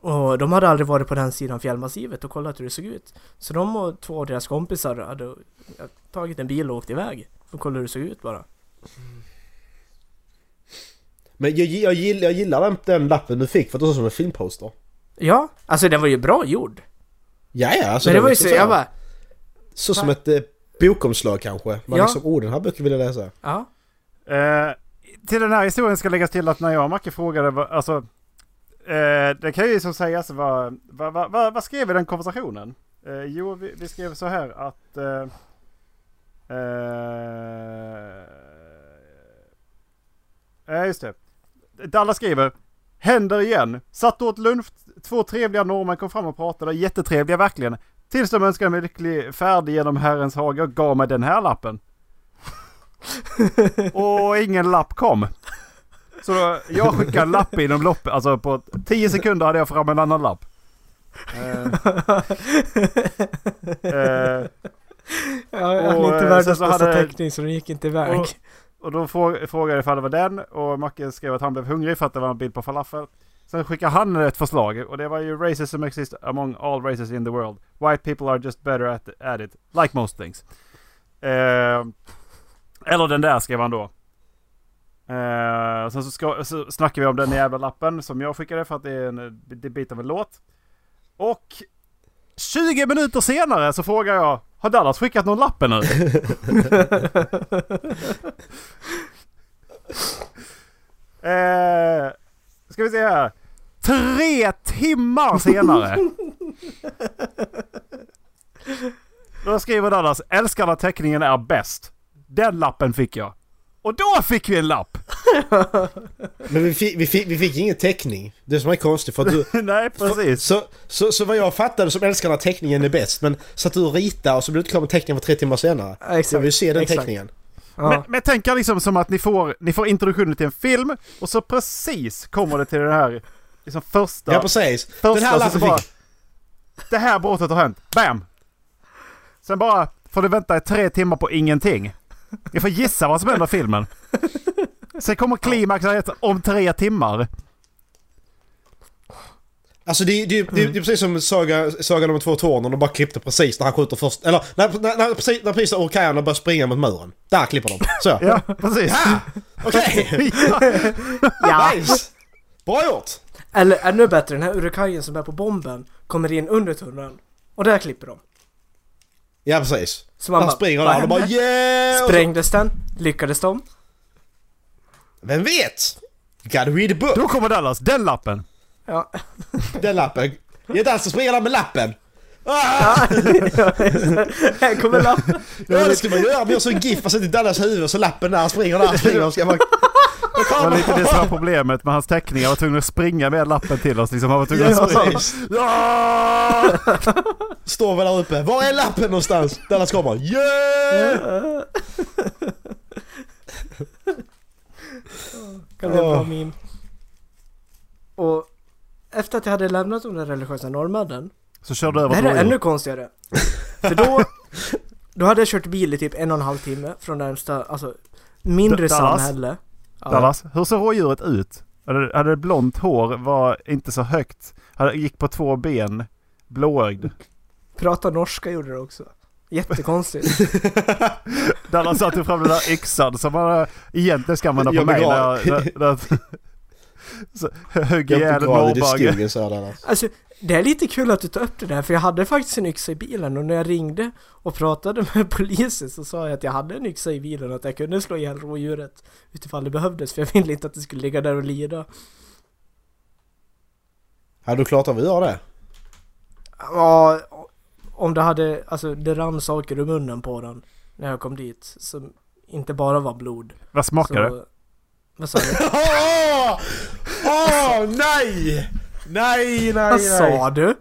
Och de hade aldrig varit på den sidan fjällmassivet och kollat hur det såg ut. Så de och två av deras kompisar hade ja, tagit en bil och åkt iväg. För att kolla hur det såg ut bara.
Men jag, jag, gillar, jag gillar den, den lappen du fick för att det såg ut som en filmposter.
Ja, alltså den var ju bra gjord.
Ja, ja, alltså
men det var ju så,
liksom
jag
här-
bara,
Så som ett eh, bokomslag kanske. Man
Ja.
liksom, oh den här boken vill jag läsa.
ja.
Eh, till den här historien ska läggas till att när jag och Macke frågade, vad- alltså, eh, det kan ju som sägas vara, vad, vad, vad, vad skrev vi i den konversationen? Eh, jo, vi, vi skrev så här att... Eh, eh, eh, just det. Dalla skriver, händer igen. Satt åt lunch, två trevliga norrmän kom fram och pratade, jättetrevliga verkligen. Tills de önskade mig lycklig färd genom Herrens hage och gav mig den här lappen.
<laughs>
Och ingen lapp kom. Så då, jag skickade en lapp inom loppet. Alltså på 10 sekunder hade jag fram en annan
<laughs>
lapp. Eh, eh,
ja jag
Och,
hade inte
eh, sen
världens
så
bästa
hade-
teckning så den gick inte iväg.
Och- och då frå- frågade jag ifall det var den. Och Macke skrev att han blev hungrig för att det var en bild på falafel. Sen skickade han ett förslag. Och det var ju racism exists among all races in the world. White people are just better at, at it. Like most things. Eh, eller den där skrev han då. Eh, sen så, ska, så snackar vi om den jävla lappen som jag skickade för att det är en eh, det är en bit av en låt. Och 20 minuter senare så frågar jag Har Dallas skickat någon lapp ännu? eh, ska vi se här. Tre timmar senare. Då skriver Dallas Älskar när teckningen är bäst. Den lappen fick jag. Och då fick vi en lapp!
Men vi fick, vi, fick, vi fick ingen teckning. Det som är konstigt för att du...
Nej precis.
Så, så, så vad jag fattade som älskar när teckningen är bäst men satt du och ritade och så blev du inte klar med teckningen för tre timmar senare.
Ja, exakt.
Jag vill ju se den
Exakt.
teckningen.
Ja.
Men, men tänk er liksom som att ni får, ni får introduktionen till en film och så precis kommer det till den här liksom första...
Ja precis.
första
den här
så- så
lappen
bara,
fick...
Det här brottet har hänt. Bam! Sen bara får du vänta i tre timmar på ingenting. Ni får gissa vad som händer i filmen. Sen kommer klimaxet om tre timmar.
Alltså det, det, det, det är precis som Saga, Sagan om de två tornen. De bara klippte precis när han skjuter först. Eller när, när, när, precis, när precis orkanerna börjar springa mot muren. Där klipper de. Så.
<laughs>
Ja, precis.
Okej!
ja.
<laughs> Nice! Bra gjort!
Eller ännu bättre, den här urkajen som är på bomben kommer in under tunneln. Och där klipper de.
Ja precis.
Så man
han
bara,
springer
vad
där och de bara
hände?
yeah! Och så-
Sprängdes den? Lyckades de?
Vem vet? You gotta read the book!
Då kommer Dallas, den lappen.
Ja. <laughs>
Den lappen. Det är inte alls att springa där med lappen! Ah!
Här kommer lappen.
Ja det ska man göra, man gör så en GIF och sätter i Dallas huvud och så lappen där, han springer där, han springer och ska bara...
Det var lite det som var problemet med hans teckningar. Han var tvungen att springa med lappen till oss. Liksom. Han var tvungen att springa.
precis. Står väl där uppe, var är lappen någonstans? Dallas kommer, yeah!
Kan det vara
Åh.
min? Och efter att jag hade lämnat de där religiösa norrmännen.
Så körde du
Det
över
här
ett
är
ännu...
ännu konstigare. För då, då hade jag kört bil i typ en och en halv timme från närmsta, alltså mindre
Dallas?
samhälle. Ja.
Dallas, hur ser rådjuret ut? Hade, hade det blont hår, var inte så högt, hade, gick på två ben, blåögd.
Prata norska gjorde det också. Jättekonstigt. <laughs>
Dallas satte fram den där yxan som han eh, egentligen ska använda på
Jag
mig.
begrav-
När jag, när, när, Så, högg
Jag
ihjäl en
begraver det i
norrbagge.
skogen sa den.
Alltså, det är lite kul att du tar upp det där, för jag hade faktiskt en yxa i bilen och när jag ringde och pratade med <laughs> polisen så sa jag att jag hade en yxa i bilen och att jag kunde slå ihjäl rådjuret utifall det behövdes, för jag ville inte att det skulle ligga där och lida.
Ja, då klart att vi gör det.
Ja, om det hade, alltså det rann saker ur munnen på den när jag kom dit som inte bara var blod.
Vad
Så-
smakar det?
Vad sa du?
Åh! Åh, Ah! nej! Nej, nej,
Vad
nej.
sa du?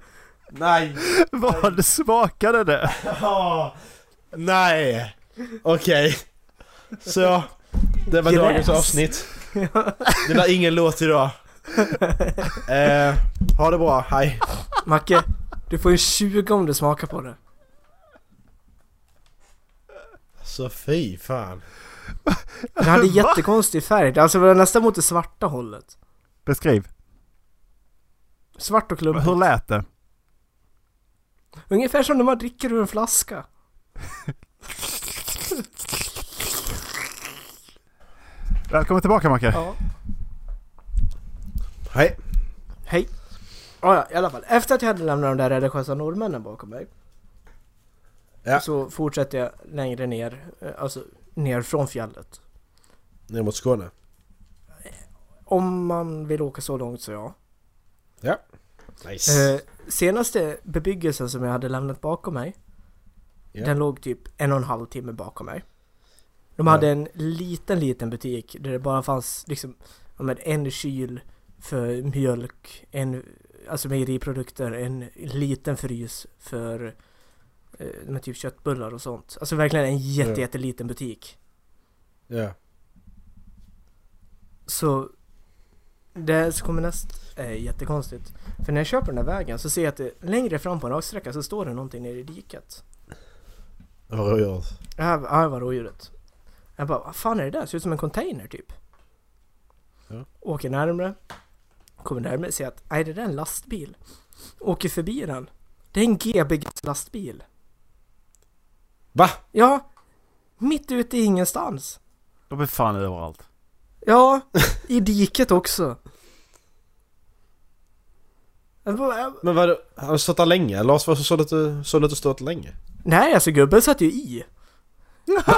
Nej.
Vad smakade det?
Åh, nej. Okej. Så. Det var
Gräs.
dagens avsnitt. Det blir ingen låt idag. Eh, ha det bra, hej.
Macke, du får en 20 om du smakar på det.
Så fy fan.
Det hade jättekonstig färg, alltså det var nästan mot det svarta hållet.
Beskriv.
Svart och klumpigt.
Hur lät det?
Ungefär som när man dricker ur en flaska.
Välkommen tillbaka Macke.
Ja.
Hej.
Hej. Ah, ja, i alla fall. Efter att jag hade lämnat de där religiösa norrmännen bakom mig.
Ja.
Så fortsätter jag längre ner, eh, alltså ner från fjället.
Ner mot Skåne.
Om man vill åka så långt så ja.
Ja. Nice.
Eh, senaste bebyggelsen som jag hade lämnat bakom mig.
Ja.
Den låg typ en och en halv timme bakom mig. De hade en liten, liten butik där det bara fanns liksom ja, men en kyl för mjölk, en, alltså mejeriprodukter, en liten frys för eh, med typ köttbullar och sånt. Alltså verkligen en jätte,
Ja.
jätteliten butik.
Ja.
Så det som kommer näst är jättekonstigt. För när jag kör på den här vägen så ser jag att det, längre fram på en raksträcka så står det någonting nere i diket.
Det var roligt.
Det här, det här var rådjuret. Jag bara, vad fan är det där? Ser ut som en container typ.
Ja.
Åker närmre. Kommer närmre ser att, nej det där är en lastbil. Åker förbi den. Det är en gbg lastbil.
Va?
Ja, mitt ute i ingenstans.
De är fan överallt.
Ja, i diket också. Jag bara, jag-
Men vad Har du stått där länge? Lars, varför såg du att du- såg du att du stått länge?
Nej, alltså gubben satt ju i.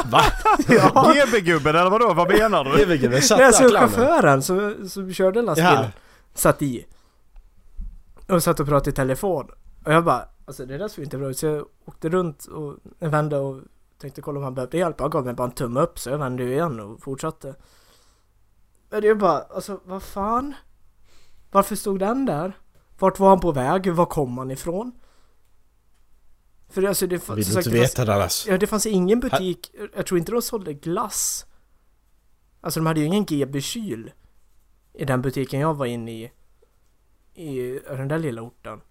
Va?
Ja,
GB-gubben eller vadå? Vad menar
Det
du?
är väl gubben. Satt
Nej, alltså
där clownen.
chauffören som, som körde lastbilen
Ja.
satt i. Och satt och pratade i telefon. Och jag bara, alltså det där såg inte bra ut. Så jag åkte runt och vände och tänkte kolla om han behövde hjälp. Han gav mig bara en tumme upp så jag vände ju igen och fortsatte. Men det är bara, alltså vad fan? Varför stod den där? Vart var han på väg? Var kom han ifrån? För alltså det
Vill du
som sagt,
inte
det fanns-
veta det Lars?
Ja, det fanns ingen butik. Jag tror inte de sålde glass. Alltså de hade ju ingen GB-kyl i den butiken jag var inne i. I den där lilla orten.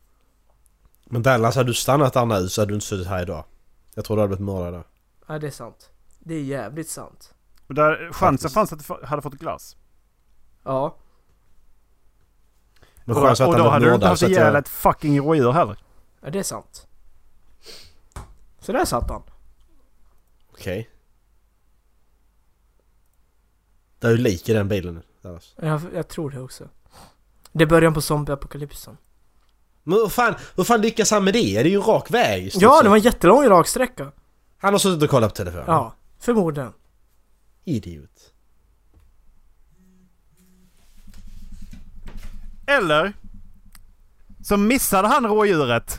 Men Dallas, hade du stannat där nu så hade du inte suttit här idag. Jag tror du hade blivit mördad då.
Ja, det är sant. Det är jävligt sant.
Och Där, chansen
Faktiskt.
fanns att du f- hade fått glass.
Ja.
Men
Och,
skönt så att
och då
han
hade
blev
du inte
mördad.
haft
så att
ihjäl
jag-
ett fucking rådjur heller.
ja, det är sant. Så där satt han.
Okej. Det är ju lik i den bilen Dallas.
Jag, jag tror det också. Det är början på zombieapokalypsen.
Men hur fan, hur fan lyckas han med det? Det är ju en rak väg i stort
Ja,
sett.
det var en jättelång raksträcka.
Han har suttit och kollat på telefonen.
Ja, förmodligen.
Idiot.
Eller så missade han rådjuret.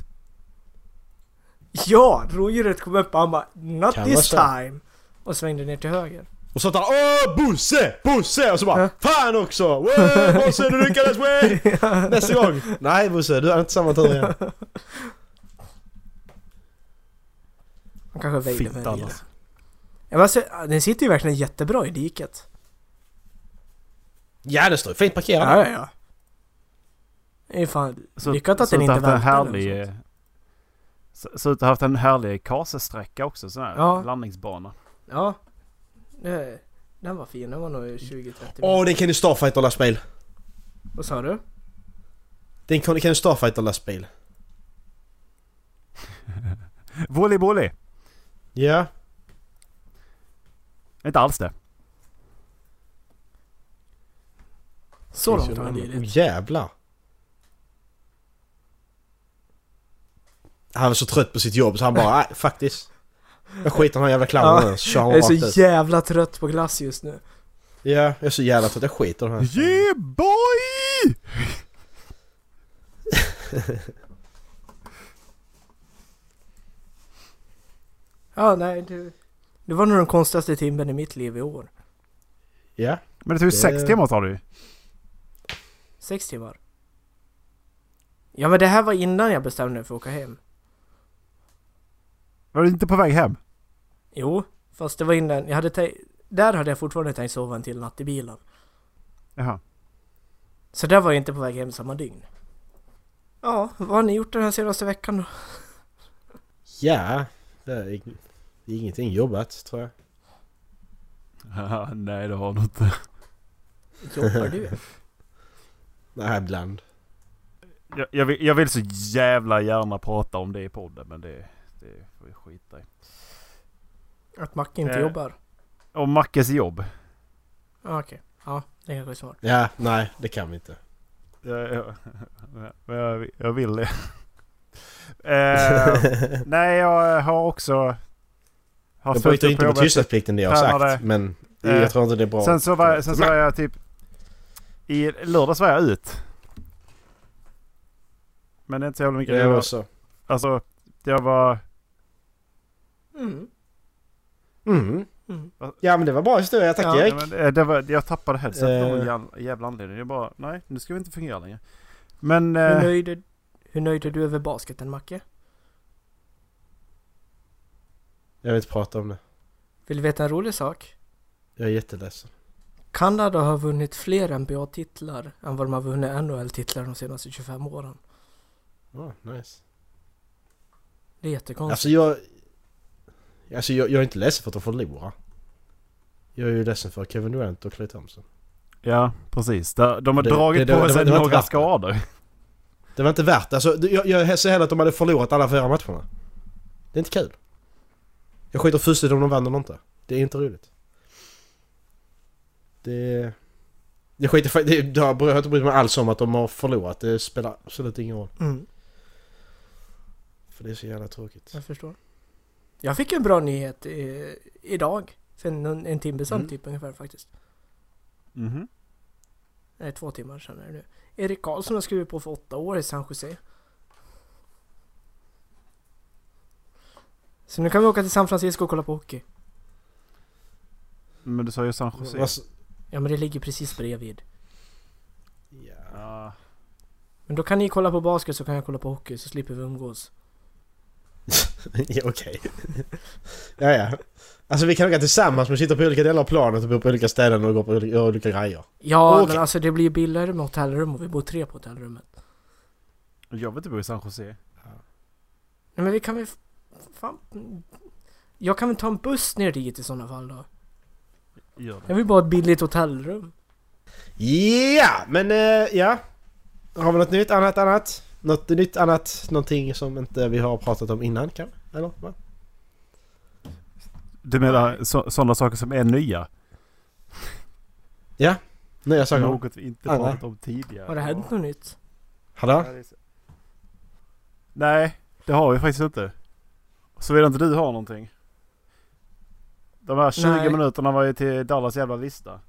Ja, rådjuret kom upp och han bara Not
Kan
this
vara så.
time. Och svängde ner till höger.
Och så att han Åh Bosse! Bosse! Och så bara
Ja.
Fan också! Wow, Bosse du lyckades!
<laughs>
Wow! Nästa gång! Nej Bosse, du har inte samma tur igen.
Han kanske väjde
Fint
med en bil.
annars.
Ja, men alltså, den sitter ju verkligen jättebra i diket.
<laughs> Ja det står ju fint parkerat.
Ja, ja, ja. Det är ju fan
Så-
lyckat att
så
den inte
haft en
välte. eller
härlig,
något sånt.
eh, så- Ser ut att ha haft en härlig kasesträcka också. Sån här
Ja.
landningsbana.
Ja. Det, den var fin, den var nog 20-30
Åh den kan ju Starfighter lastbil.
Vad sa du?
Den kan kan ju Starfighter lastbil.
Volleybolly.
Ja.
Inte alls det.
Så
Finns ju
långt har han
en annan.
lidit.
Åh, Oh, jävlar. Han var så trött på sitt jobb så han bara, nej faktiskt. Jag skiter i den här jävla clownen
Ja,
nu, så kör han
Jag är
rakt ut.
så jävla trött på glass just nu.
Ja, jag är så jävla trött. Jag skiter i den här.
Yeah boy!
Ja, nej, det, det var nog den konstigaste timmen i mitt liv i år.
Ja.
Men det tog ju
Det-
sex timmar tar det ju.
Sex timmar. Ja, men det här var innan jag bestämde mig för att åka hem.
Var du inte på väg hem?
Jo, fast det var innan... Jag hade tänkt... Där hade jag fortfarande tänkt sova en till natt i bilen.
Jaha.
Så där var jag inte på väg hem samma dygn. Ja, vad har ni gjort den här senaste veckan då?
Ja. Det är ing- det är ingenting jobbat tror jag.
Nej det har du inte.
Jobbar du?
Nej, ibland.
Jag, jag, vill, jag vill så jävla gärna prata om det i podden men det, det får vi skita i.
<laughs> Att Macke inte
Eh.
jobbar?
Och Mackes jobb.
Ja, okej. Ja, det kanske är svårt.
Ja, nej det kan vi inte.
Jag, jag, men jag, jag vill
<laughs>
det. Eh, nej jag har också... Har
Jag bryter
suttit
inte mot
jobbet.
tystnadsplikten det jag har
Tränar
sagt.
det.
Men
Eh,
jag tror inte det är bra.
Sen så var, sen så var jag typ... I lördags var jag ut. Men det är inte så jävla mycket.
Det
jag
var
var,
så.
alltså, jag var...
Mm.
Mm.
Mm.
Ja men det var bra historia. Tack
Ja,
Erik.
Nej, men, eh, det var jag tappade headsetet av
Eh.
en jävla, jävla anledning. Jag bara, nej nu ska vi inte fungera längre. Men...
Hur,
Eh,
nöjd är, hur nöjd är du över basketen, Macke?
Jag vill inte prata om det.
Vill du veta en rolig sak?
Jag är jätteledsen.
Kanada har vunnit fler NBA-titlar än vad de har vunnit NHL-titlar de senaste 25 åren.
Oh, nice.
Det är jättekonstigt.
Alltså jag... Alltså jag, jag är inte ledsen för att de förlorar. Jag är ju ledsen för Kevin Durant och Clay Thompson.
ja, precis. De, de har
Det-
dragit
det- det-
på
det-
sig
det var inte
några
värt det.
skador.
Det var inte värt det. Alltså, det- jag, jag ser hellre att de hade förlorat alla fyra matcherna. Det är inte kul. Jag skiter fullständigt om de vann eller inte. Det är inte roligt. Det... Jag skiter fa- det, det har- jag har inte brytt mig alls om att de har förlorat. Det spelar absolut ingen roll.
Mm,
För det är så jävla tråkigt.
jag förstår. Jag fick en bra nyhet eh, idag. För en, en timme sedan
Mm.
typ ungefär faktiskt.
Mhm.
Nej, två timmar sedan är det nu. Erik Karlsson har skrivit på för åtta år i San Jose. Så nu kan vi åka till San Francisco och kolla på hockey.
Men du sa ju San Jose.
Alltså,
Ja men det ligger precis bredvid.
ja. <laughs>
Ja.
Men då kan ni kolla på basket så kan jag kolla på hockey så slipper vi umgås.
ja, okej. ja, ja. Alltså vi kan åka tillsammans men sitter på olika delar av planet och bor på olika ställen och går på olika, gör olika grejer.
Ja
Okej.
men alltså det blir ju billigare med hotellrum och vi bor tre på hotellrummet.
Jag vill inte bo i San Jose.
Nej men vi kan väl... f- Fan. Jag kan väl ta en buss ner dit i sådana fall då?
Gör det.
Jag vill bara ha ett billigt hotellrum.
Ja, men eh, ja. Har vi något nytt, annat, annat? Något nytt, annat, någonting som inte vi har pratat om innan kan? Eller? Va?
Du menar så, sådana saker som är nya?
Nya saker?
Något vi inte
Ja,
pratat om tidigare.
Har det hänt något nytt?
Hallå?
Nej, det har vi faktiskt inte. Såvida inte du har någonting. De här 20
Nej.
minuterna var ju till Dallas jävla lista.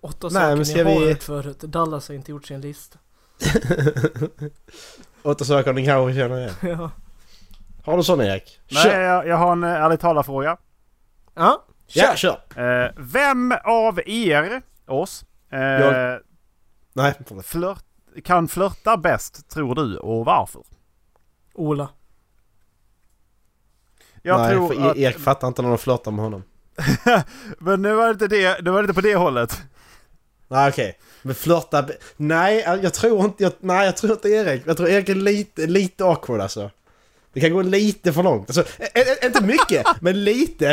Åtta
Nej,
saker
men ska
ni har
vi-
hört förut. Dallas har inte gjort sin lista. <laughs>
Åtta saker ni kanske känner igen.
ja.
Har du sån Erik?
Nej,
Kör!
jag, jag har en eh, ärligt talat-fråga.
Ja.
Ja, kör!
Eh, vem av er, oss, eh,
Jag. Nej, förlåt.
flört, kan flörta bäst tror du och varför?
Ola.
Jag
Nej,
tror
för E-
att,
Erik fattar inte när de flörtar med honom.
Men nu var det inte, det, nu var det inte på det hållet.
Nej okej. Men flörta... be- Nej jag tror inte... Jag, nej jag tror inte Erik. Jag tror Erik är lite, lite awkward alltså. Det kan gå lite för långt. Alltså, ä, ä, ä, inte
<laughs>
mycket, men lite.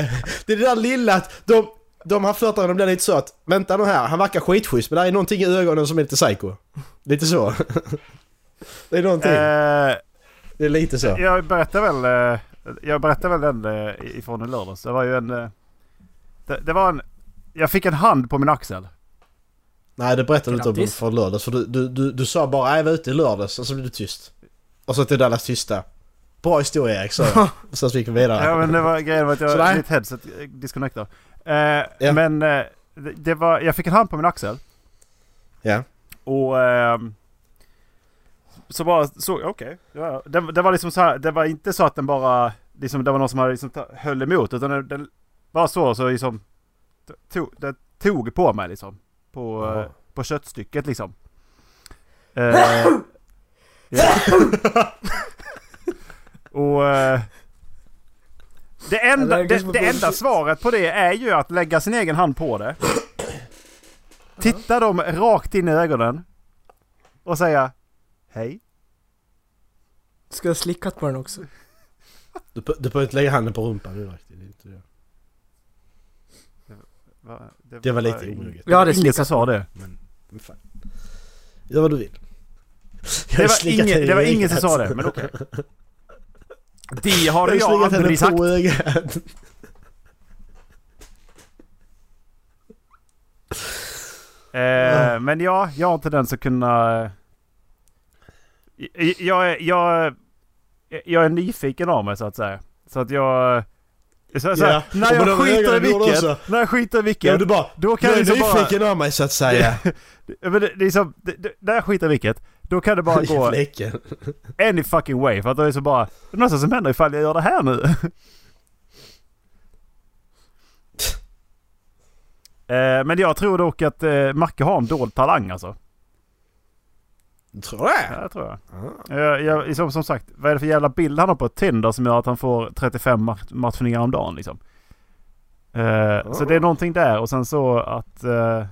Det är det där lilla att de... De han flörtar med, de blir lite så att... Vänta nu här, han verkar skitschysst men där är någonting i ögonen som är lite psycho. Lite så. <laughs> Det är någonting.
Eh,
det är lite så.
Jag berättade väl, eh, jag berättade väl den eh, ifrån i lördags. Det var ju en... eh, Det, det var en... Jag fick en hand på min axel.
Nej, det berättade du inte om
Grattis.
för lördags. För du, du, du, du sa bara "Äh, jag var ute i lördags och så blev du tyst. Och så till Dallas tysta. Bra historia Erik, så
<laughs>
Sen så gick vi vidare.
Ja men det var grejen var att jag,
Sådär.
mitt headset eh, disconnectar. Eh, Men eh, det, det var, jag fick en hand på min axel.
Ja.
Och... ehm, så bara såg jag, okej. ja, det, det var liksom så här, det var inte så att den bara... Liksom, det var någon som hade liksom, ta- höll emot utan den, den bara så, så liksom... t- Tog, den tog på mig liksom. På,
Jaha.
eh, på köttstycket liksom. Eh, ja. Och... eh, det enda,
Allergisk
det,
mot
det enda
bullshit.
svaret på det är ju att lägga sin egen hand på det. Titta dem rakt in i ögonen. Och säga Hej.
Ska jag slickat på den också?
Du, du behöver inte lägga handen på rumpan nu direkt. Det är inte det.
Va?
Det var lite omoget.
Jag hade
Ingen som
slickat.
sa det.
Men fan. Gör vad du vill. Jag
Det
har
var,
slickat henne
ingen,
i
det var ingen som
ögat.
sa det, men
<laughs>
okej. Det har
Jag
jag
har slickat henne
aldrig sagt. <laughs>
på ögat.
Eh, men ja, jag har inte den som kunna... Jag, jag, är- jag, är- jag är nyfiken av mig så att säga. Så att jag... Så, så,
Ja,
När
och med
jag
de
skiter i
ögonen gjorde också.
vilket, när jag skiter i
Ja,
vilket,
du bara,
då kan
du
jag
är
liksom bara...
nyfiken av mig så att säga.
Ja, Men det, det är som, det, det, när jag skiter i vilket, då kan det <laughs>
<laughs>
bara gå
Jävla äckel.
any fucking way. För att då är det så bara, det är något som händer ifall jag gör det här nu. eh, men jag tror dock att eh, Macke har en dold talang alltså.
Tror det?
Ja, det tror jag.
Ja.
Jag, jag, liksom, som, som sagt, vad är det för jävla bild han har på Tinder som gör att han får 35 mat- matchningar om dagen liksom? Eh, Så det är någonting där och sen så att... Eh,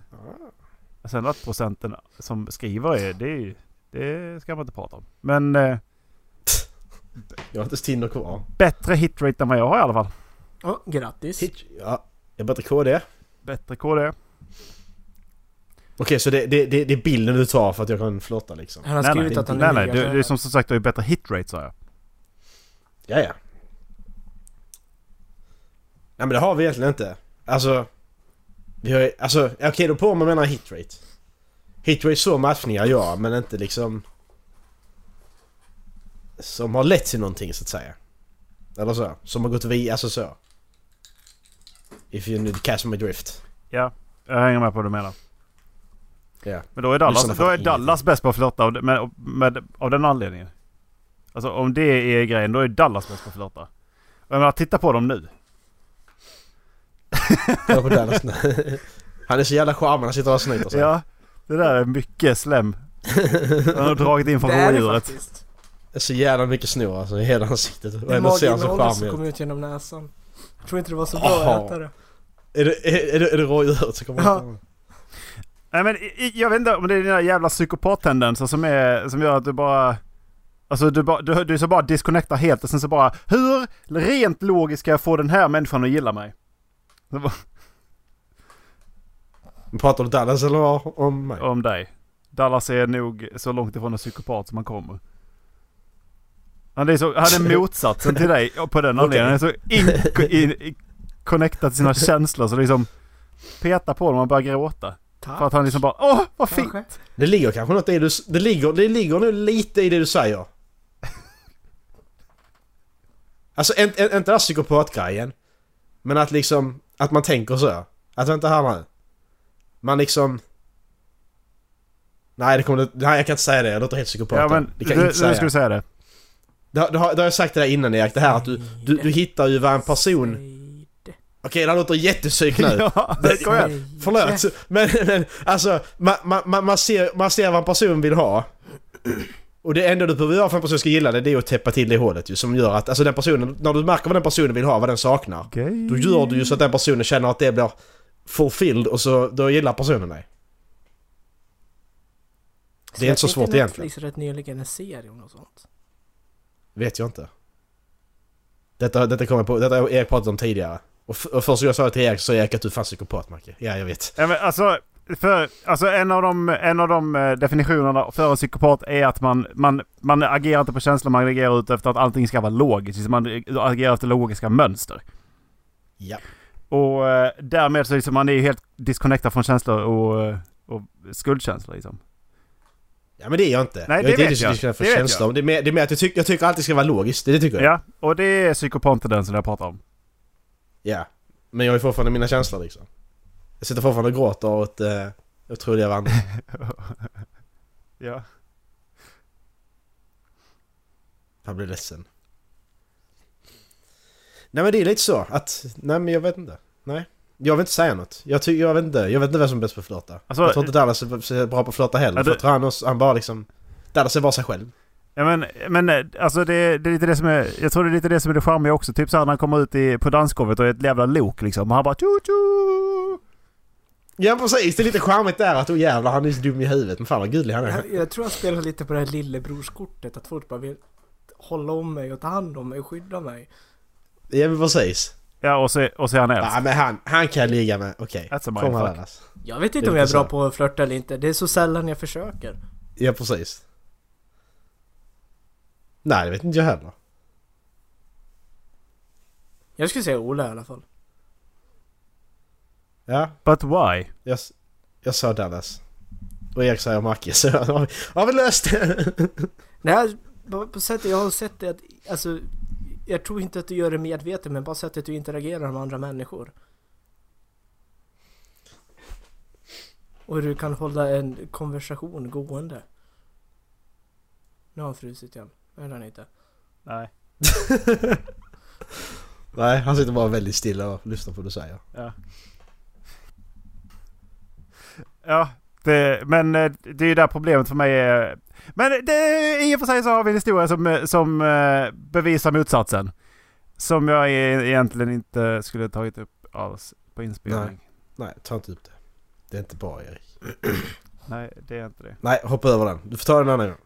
sen att procenten som skriver är, det är ju... Det ska man inte prata om. Men eh,
Jag har inte ens Tinder kvar.
bättre hitrate än vad jag har i alla fall.
Ja, grattis.
Hitch. Ja, jag bättre KD. Okej,
Bättre KD.
så det, det, det, det är bilden du tar för att jag kan flirta liksom?
Han har
nej,
skrivit
nej,
att han
nej,
är
nej,
nöjd.
du, du som, som sagt du har ju bättre hitrate sa jag.
Ja, ja. Nej men det har vi egentligen inte. Alltså... Vi har ju- Alltså, ja, okej då på om man menar hitrate. Hitrate så matchningar ja, men inte liksom... Som har lett till någonting så att säga. Eller så. Som har gått via, alltså så. If you need catch my drift.
Ja, jag hänger med på vad du menar.
Ja.
Men då är
Lyssnarna
Dallas, då
fattar
är Dallas bäst på att flirta av, med, med, av den anledningen. Alltså om det är grejen, då är Dallas bäst på att flirta. Och Jag menar, titta på dem nu.
Kolla på Dallas nu. Han är så jävla charmig, han sitter och snyter sig.
Ja, det där är mycket
<laughs>
slem. Han har dragit in från
Det är det
rådjuret.
faktiskt.
Det är så jävla mycket snor alltså i hela ansiktet. Och
Det är
ändå ser han så
maginnehållet som
charmig ut.
kom ut genom näsan. Jag tror inte det var så bra
Aha.
att äta det.
Är det, är, är det, är det rådjuret som kommer
Ja.
ut?
Nej men i- i- jag vet inte om det är dina jävla psykopattendenser som, är, som gör att du bara... Alltså du, bara, du, du så bara disconnectar helt och sen så bara Hur rent logiskt ska jag få den här människan att gilla mig? Så bara,
Pratar du Dallas eller om mig?
Om dig. Dallas är nog så långt ifrån en psykopat som man kommer. Han är, så, han
<laughs>
är motsatsen till dig på den anledningen. Han är så in, in, in, connectad
<laughs>
till sina känslor så det liksom petar på dem och börjar gråta.
Tack.
För att han liksom bara åh vad fint!
Kanske.
Det ligger kanske något i det du... s- Det ligger, det ligger nu lite i det du säger. Alltså en- en- inte den här psykopatgrejen. Men att liksom... Att man tänker så. Att vänta här nu. Man liksom... Nej, det kommer, nej jag kan inte säga det. Jag låter helt psykopat.
Ja men
det
det
kan
du,
jag inte säga.
ska du säga det.
Det, har- det, har, det har jag sagt till dig innan Erik, det här att du, du, du hittar ju vad en person... Okej,
Nöjd.
det här låter jättepsyk nu.
<laughs> ja, det kom igen.
Nöjd.
Förlåt, men, men alltså man, man, man, man, ser, man ser vad en person vill ha. Och det enda du behöver göra för att en person ska gilla det, det är att täppa till det hålet ju. Som gör att, alltså den personen, när du märker vad den personen vill ha, vad den saknar.
Okej.
Då gör du ju så att den personen känner att det blir fulfilled och så, då gillar personen dig. Det är inte så
Släppte
svårt egentligen.
Netflix rätt nyligen en serie om något sånt.
Vet jag inte. Detta, detta kommer på, detta har Erik pratat om tidigare. Och, f- och första gången jag sa det till Erik så sa Erik att du är fan psykopat Macke. Ja, jag vet.
Ja, men alltså, för, alltså en av de, en av de eh, definitionerna för en psykopat är att man, man, man agerar inte på känslor, man liksom agerar ut efter att allting ska vara logiskt. Man agerar efter logiska mönster.
Ja.
Och eh, därmed så liksom man är ju helt disconnectad från känslor och, eh, och skuldkänslor liksom.
Ja men det är jag inte.
Nej,
jag
det
är inte
vet jag.
diskussion för
Det vet
känslor. Det är mer, det är mer att jag, tycker, jag tycker alltid ska vara logiskt. Det, det tycker jag.
Ja, och det är psykopantendensen jag pratar om.
Ja. Men jag har ju fortfarande mina känslor liksom. Jag sitter fortfarande och gråter åt eh, otroliga <laughs> vandrar.
<laughs> ja.
Han blir ledsen. Nej men det är lite så att, nej men jag vet inte. Nej. Jag vill inte säga något. Jag, ty- jag vet inte, jag vet inte vem som är bäst på att flirta.
Alltså,
jag tror inte Dallas är så bra på att flirta heller.
Ja,
För
du-
jag tror han, också- han bara liksom... Dallas är bara sig själv.
Ja, men, men eh, alltså det, det är lite det som är, jag tror det är lite det som är det charmiga också. Typ såhär när han kommer ut i, på dansgolvet och är ett jävla lok liksom. Och han bara tjo tjo!
Ja precis, det är lite charmigt där att oh jävlar han är så dum i huvudet. Men fan vad gullig han är.
Jag, jag tror jag spelar lite på det här lillebrorskortet, att folk bara vill hålla om mig och ta hand om mig och skydda mig.
Ja men precis.
Ja och så, och så är han äldst.
Nej men han, han kan jag ligga med. Okej.
That's a
Kom här
mindfuck.
Dallas.
Jag vet
Det
inte
är
om jag är
lite
bra
så.
på att flörta eller inte, det är så sällan jag försöker.
Ja precis. Nej det vet inte jag heller.
Jag skulle säga Ola i alla fall.
Ja,
But why?
Jag, jag sa Dallas. Och Erik säger Macke, så <laughs> har vi, har vi löst det! <laughs>
Det här, alltså, på, på sättet jag har sett det att, alltså, jag tror inte att du gör det medvetet men bara sättet du interagerar med andra människor. Och hur du kan hålla en konversation gående. Nu har han frusit igen. Eller han inte.
Nej.
Nej, han sitter bara väldigt stilla och lyssnar på vad du säger.
Ja. Ja, det, men eh, det är ju där problemet för mig är. Men det, i och för sig så har vi en historia som, eh, som eh, bevisar motsatsen. Som jag e- egentligen inte skulle tagit upp alls på inspelning.
Nej, ta inte upp det. Det är inte bra Erik.
Nej, det är inte det.
Nej, hoppa över den. Du får ta den annan gång.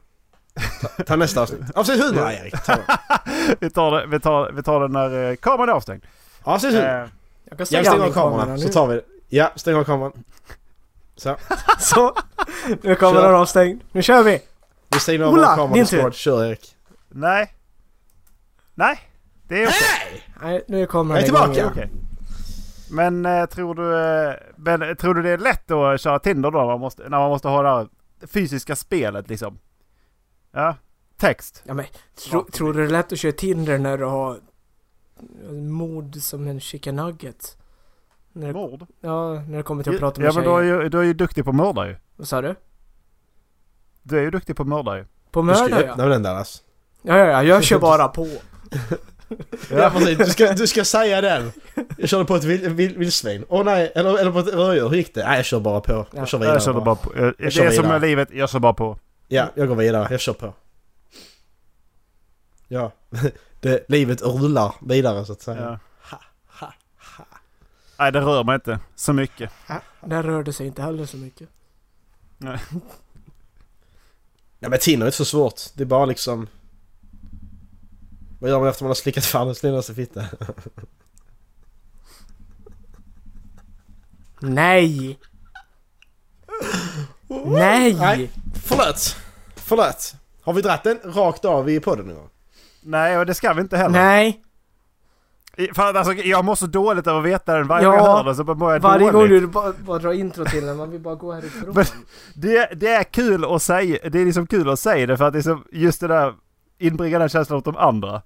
Ta, ta nästa avsnitt. Avsnitt 100 Erik! Ta den.
<laughs> Vi tar, det, vi, tar, vi tar den när eh, kameran är avstängd.
Avsnitt 100!
Eh,
Jag kan
Jag
stänga
stänger
av
av kameran så tar vi det. Ja, stäng av kameran. Så,
<laughs> Så, nu är kameran
Kör.
avstängd. Nu kör vi!
vi stänger av
Ola,
vår kameran
din
och
tur.
snart kör Erik.
nej. Nej, det är okej.
Nej, nu är kameran
Jag är
igång
tillbaka.
Okej.
igen.
Men, eh, tror du, eh, men eh, tror du det är lätt då att köra Tinder då? Man måste, när man måste ha det här fysiska spelet liksom? Ja, text.
Ja, men, tro, tror du det är lätt att köra Tinder när du har mod som en chicken nugget? När det,
Mord.
ja, när det kommer till att
Ja
prata med
men du
tjejer.
är, ju, du är ju duktig på att mörda ju.
Vad sa du?
Du är ju duktig på att mörda ju.
På
Du ska ju
mördare
öppna
ja.
den alltså. Dallas.
Ja, ja,
<laughs>
ja, jag kör bara på.
Ja precis, du ska, du ska säga den. Jag körde på ett vill- vill- vildsvin. Åh nej, eller, eller på ett rödjur. Hur gick det? Nej jag kör bara på.
Ja,
Jag kör vidare
Jag körde bara på. Jag, det
kör
är som
vidare.
med livet, jag kör bara på.
Ja, jag går vidare. Jag kör på. Ja, <laughs> det, livet rullar vidare så att säga.
Ja. Nej det rör mig inte så mycket.
Där rörde sig inte heller så mycket.
Ja, men Tinder är inte så svårt. Det är bara liksom... Vad gör man efter man har slickat Fanny's linaste fitta?
Nej! Nej!
Nej. Förlåt! Förlåt! Har vi dratt den rakt av i podden nu?
Nej och det ska vi inte heller.
Nej!
I- För att, alltså, jag mår så dåligt över att veta den. Varje gång
Ja.
jag hör den så mår jag
Varje
dåligt.
gång du bara, bara drar intro till den, man vill bara gå härifrån.
Men- Det, det är kul att säga, det är liksom kul att säga det för att det är så, just det där inbringar den känslan åt de andra.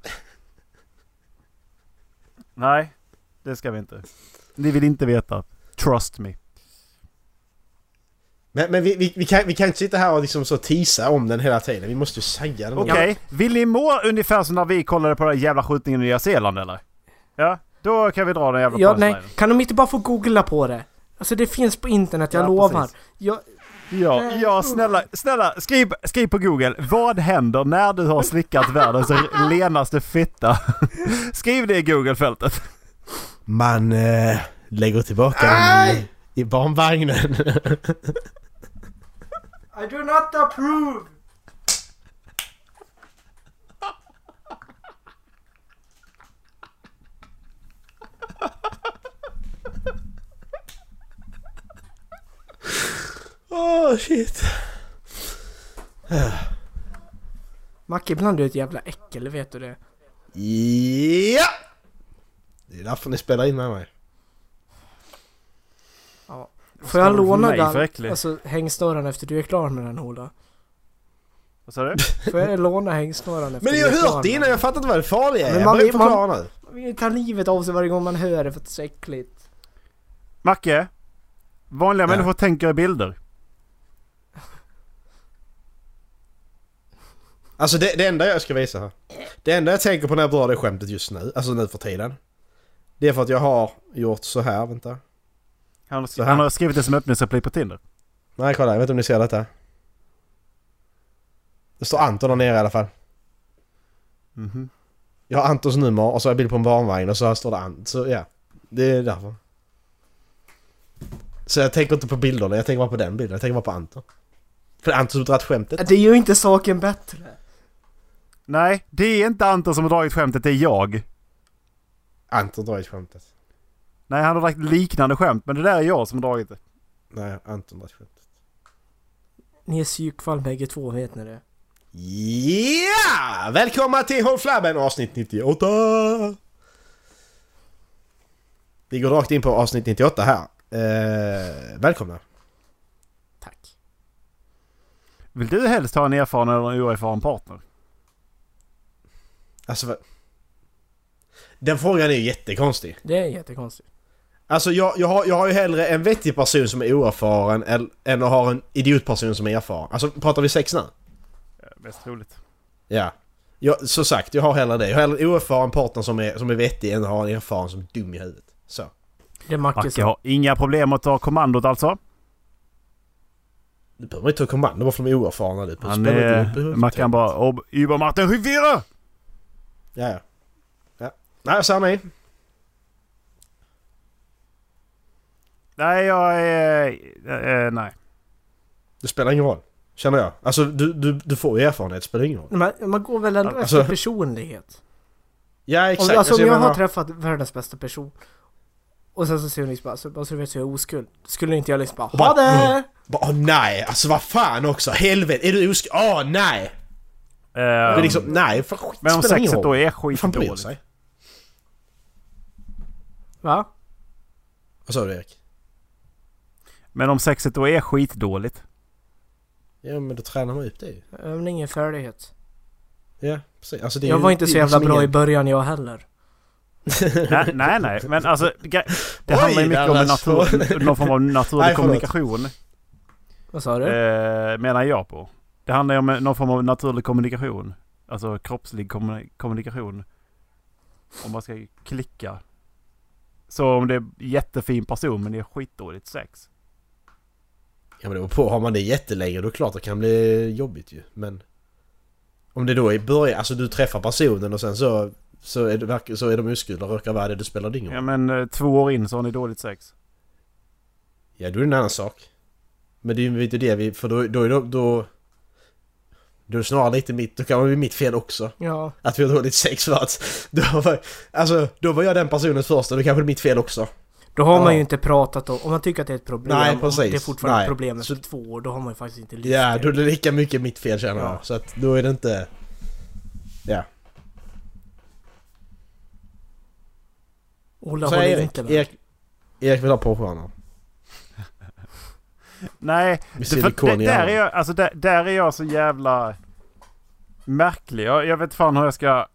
Nej, det ska vi inte. Ni vill inte veta. Trust me.
Men, men vi, vi, vi, kan, vi kan inte sitta här och liksom så tisa om den hela tiden. Vi måste ju säga den.
Okej, vill ni må ungefär som när vi kollade på den jävla skjutningen i Nya Zeeland eller? Ja, då kan vi dra den jävla
Ja, nej.
punchlinen.
Kan de inte bara få googla på det? Alltså det finns på internet, jag
Ja,
lovar.
precis.
Jag,
Ja, ja snälla, snälla skriv, skriv på google. Vad händer när du har slickat världens lenaste fitta? <laughs> Skriv det i google-fältet.
Man eh, lägger tillbaka den i, i barnvagnen. <laughs>
I do not approve!
Åh oh, shit.
Macke, ibland är du ett jävla äckel, vet du det?
Ja! Det är därför ni spelar in med mig.
Får jag
Står du för
låna
mig för
den,
äcklig?
alltså hängsnöran efter du är klar med den Ola?
Vad sa du?
Får jag låna hängsnöran efter
Men
du
jag
är
har
klar
hört det
med
innan, jag fattar inte vad det farliga är.
Men
Jag
man-
behöver
man-
förklara nu.
den? Man tar livet av sig varje gång man hör det för att det är så äckligt.
Macke? Vanliga
Ja.
människor tänker i bilder.
Alltså det, det enda jag ska visa här. Det enda jag tänker på när jag drar det skämtet just nu, alltså nu för tiden. Det är för att jag har gjort så här, vänta.
Han har,
Så
skrivit,
här.
han har skrivit det som öppningsreplik på Tinder.
Nej kolla, jag vet inte om ni ser detta. Det står Anton där nere i alla fall.
Mhm.
Jag har Antons nummer och så har jag bild på en barnvagn och så här står det Anton. Så ja, det är därför. Så jag tänker inte på bilderna, jag tänker bara på den bilden. Jag tänker bara på Anton. För det är Anton som dragit skämtet.
Det gör ju inte saken bättre.
Nej, det är inte Anton som har dragit skämtet, det är jag.
Anton dragit skämtet.
Nej, han har dragit liknande skämt, men det där är jag som har dragit det.
Nej, Anton dragit skämtet.
Ni är psykfall bägge två, vet ni det?
Ja! Välkomna till Håll Flabben avsnitt 98! Vi går rakt in på avsnitt 98 här. Eh, välkomna!
Tack.
Vill du helst ha en erfaren eller en oerfaren partner?
Alltså vad- Den frågan är ju jättekonstig.
Det är jättekonstigt.
Alltså jag, jag, har, jag har ju hellre en vettig person som är oerfaren än, än att ha en idiotperson som är erfaren. Alltså pratar vi sex nu?
Ja, Mest troligt.
Ja. Jag, så sagt, jag har hellre det. Jag har hellre en oerfaren partner som är, som är vettig än att ha en erfaren som är dum i huvudet. Så.
Det är Macke
Macke
som...
har inga problem att ta kommandot alltså.
Du behöver man ju ta kommando bara för de är oerfarna. Du
Han
spelar inte-
är...
behöver inte
Mackan
ta-
bara... "Ob- Über Martin Rivera!
Ja, ja. ja. Nej, jag säger nej.
Nej, jag är... eh, eh, nej.
Det spelar ingen roll. Känner jag. Alltså, du, du, du får ju erfarenhet. Det spelar ingen roll.
Men man går väl ändå
Alltså-
efter personlighet?
Ja,
Om,
exakt.
alltså om
Alltså,
jag,
jag menar-
har träffat världens bästa person och sen så ser hon liksom bara, så, bara så du vet så jag är oskuld. Skulle inte jag liksom bara
bara, mm.
HA DET!
Bara, Åh nej, alltså vad fan också. Helvete, är du osk... Åh nej! Det
Um,
Eh,
är liksom, nej, för skit
men om
spelar ingen
sexet då
roll.
är
Vad fan bryr
skitdåligt.
sig?
Va?
Vad sa du Erik?
Men om sexet då är skitdåligt.
Ja men då tränar man upp det ju.
Övning är färdighet.
Ja, precis. Alltså, det är
Jag
ju-
var inte så
det är
jävla
liksom
bra i
ingen-
början jag heller.
nej, nej, nej. Men alltså... ge- Det
Oj,
handlar ju mycket om en
Dallas.
natur, någon form av naturlig
Nej, förlåt.
kommunikation.
Vad sa du?
Eh, menar jag på. Det handlar ju om någon form av naturlig kommunikation. Alltså kroppslig kommu- kommunikation. Om man ska klicka. Så om det är jättefin person men det är skitdåligt sex.
Ja men det beror på, har man det jättelänge då är det klart det kan bli jobbigt ju. Men om det då är i början, alltså du träffar personen och sen så, så, är, det, verk- så är de oskulda och råkar vara det, du spelar ingen
Ja
roll.
men eh, två år in så har ni dåligt sex.
Ja då är det en annan sak. Men det är ju inte det vi, för då, då är det, då... Då är det snarare lite mitt, då kan det bli mitt fel också.
Ja,
Att vi har dåligt sex för att <laughs> då var, alltså, då var jag den personens första, då kanske det är mitt fel också.
då har man
Ja.
ju inte pratat om, om man tycker att det är ett problem,
Nej,
om
precis.
det är fortfarande
Nej.
ett problem efter
Så-
två år, då har man ju faktiskt inte lyft
Ja, då
det.
är det lika mycket mitt fel känner
Ja.
jag. Så att då är det inte... Ja.
Ola
Så
håller
Erik,
inte med.
Erik, Erik vill ha porrstjärnor.
Nej,
Med
det, för,
silikon i
det, där,
hjärnan.
är jag, alltså, där, där är jag så jävla märklig. Jag, jag vet fan hur jag ska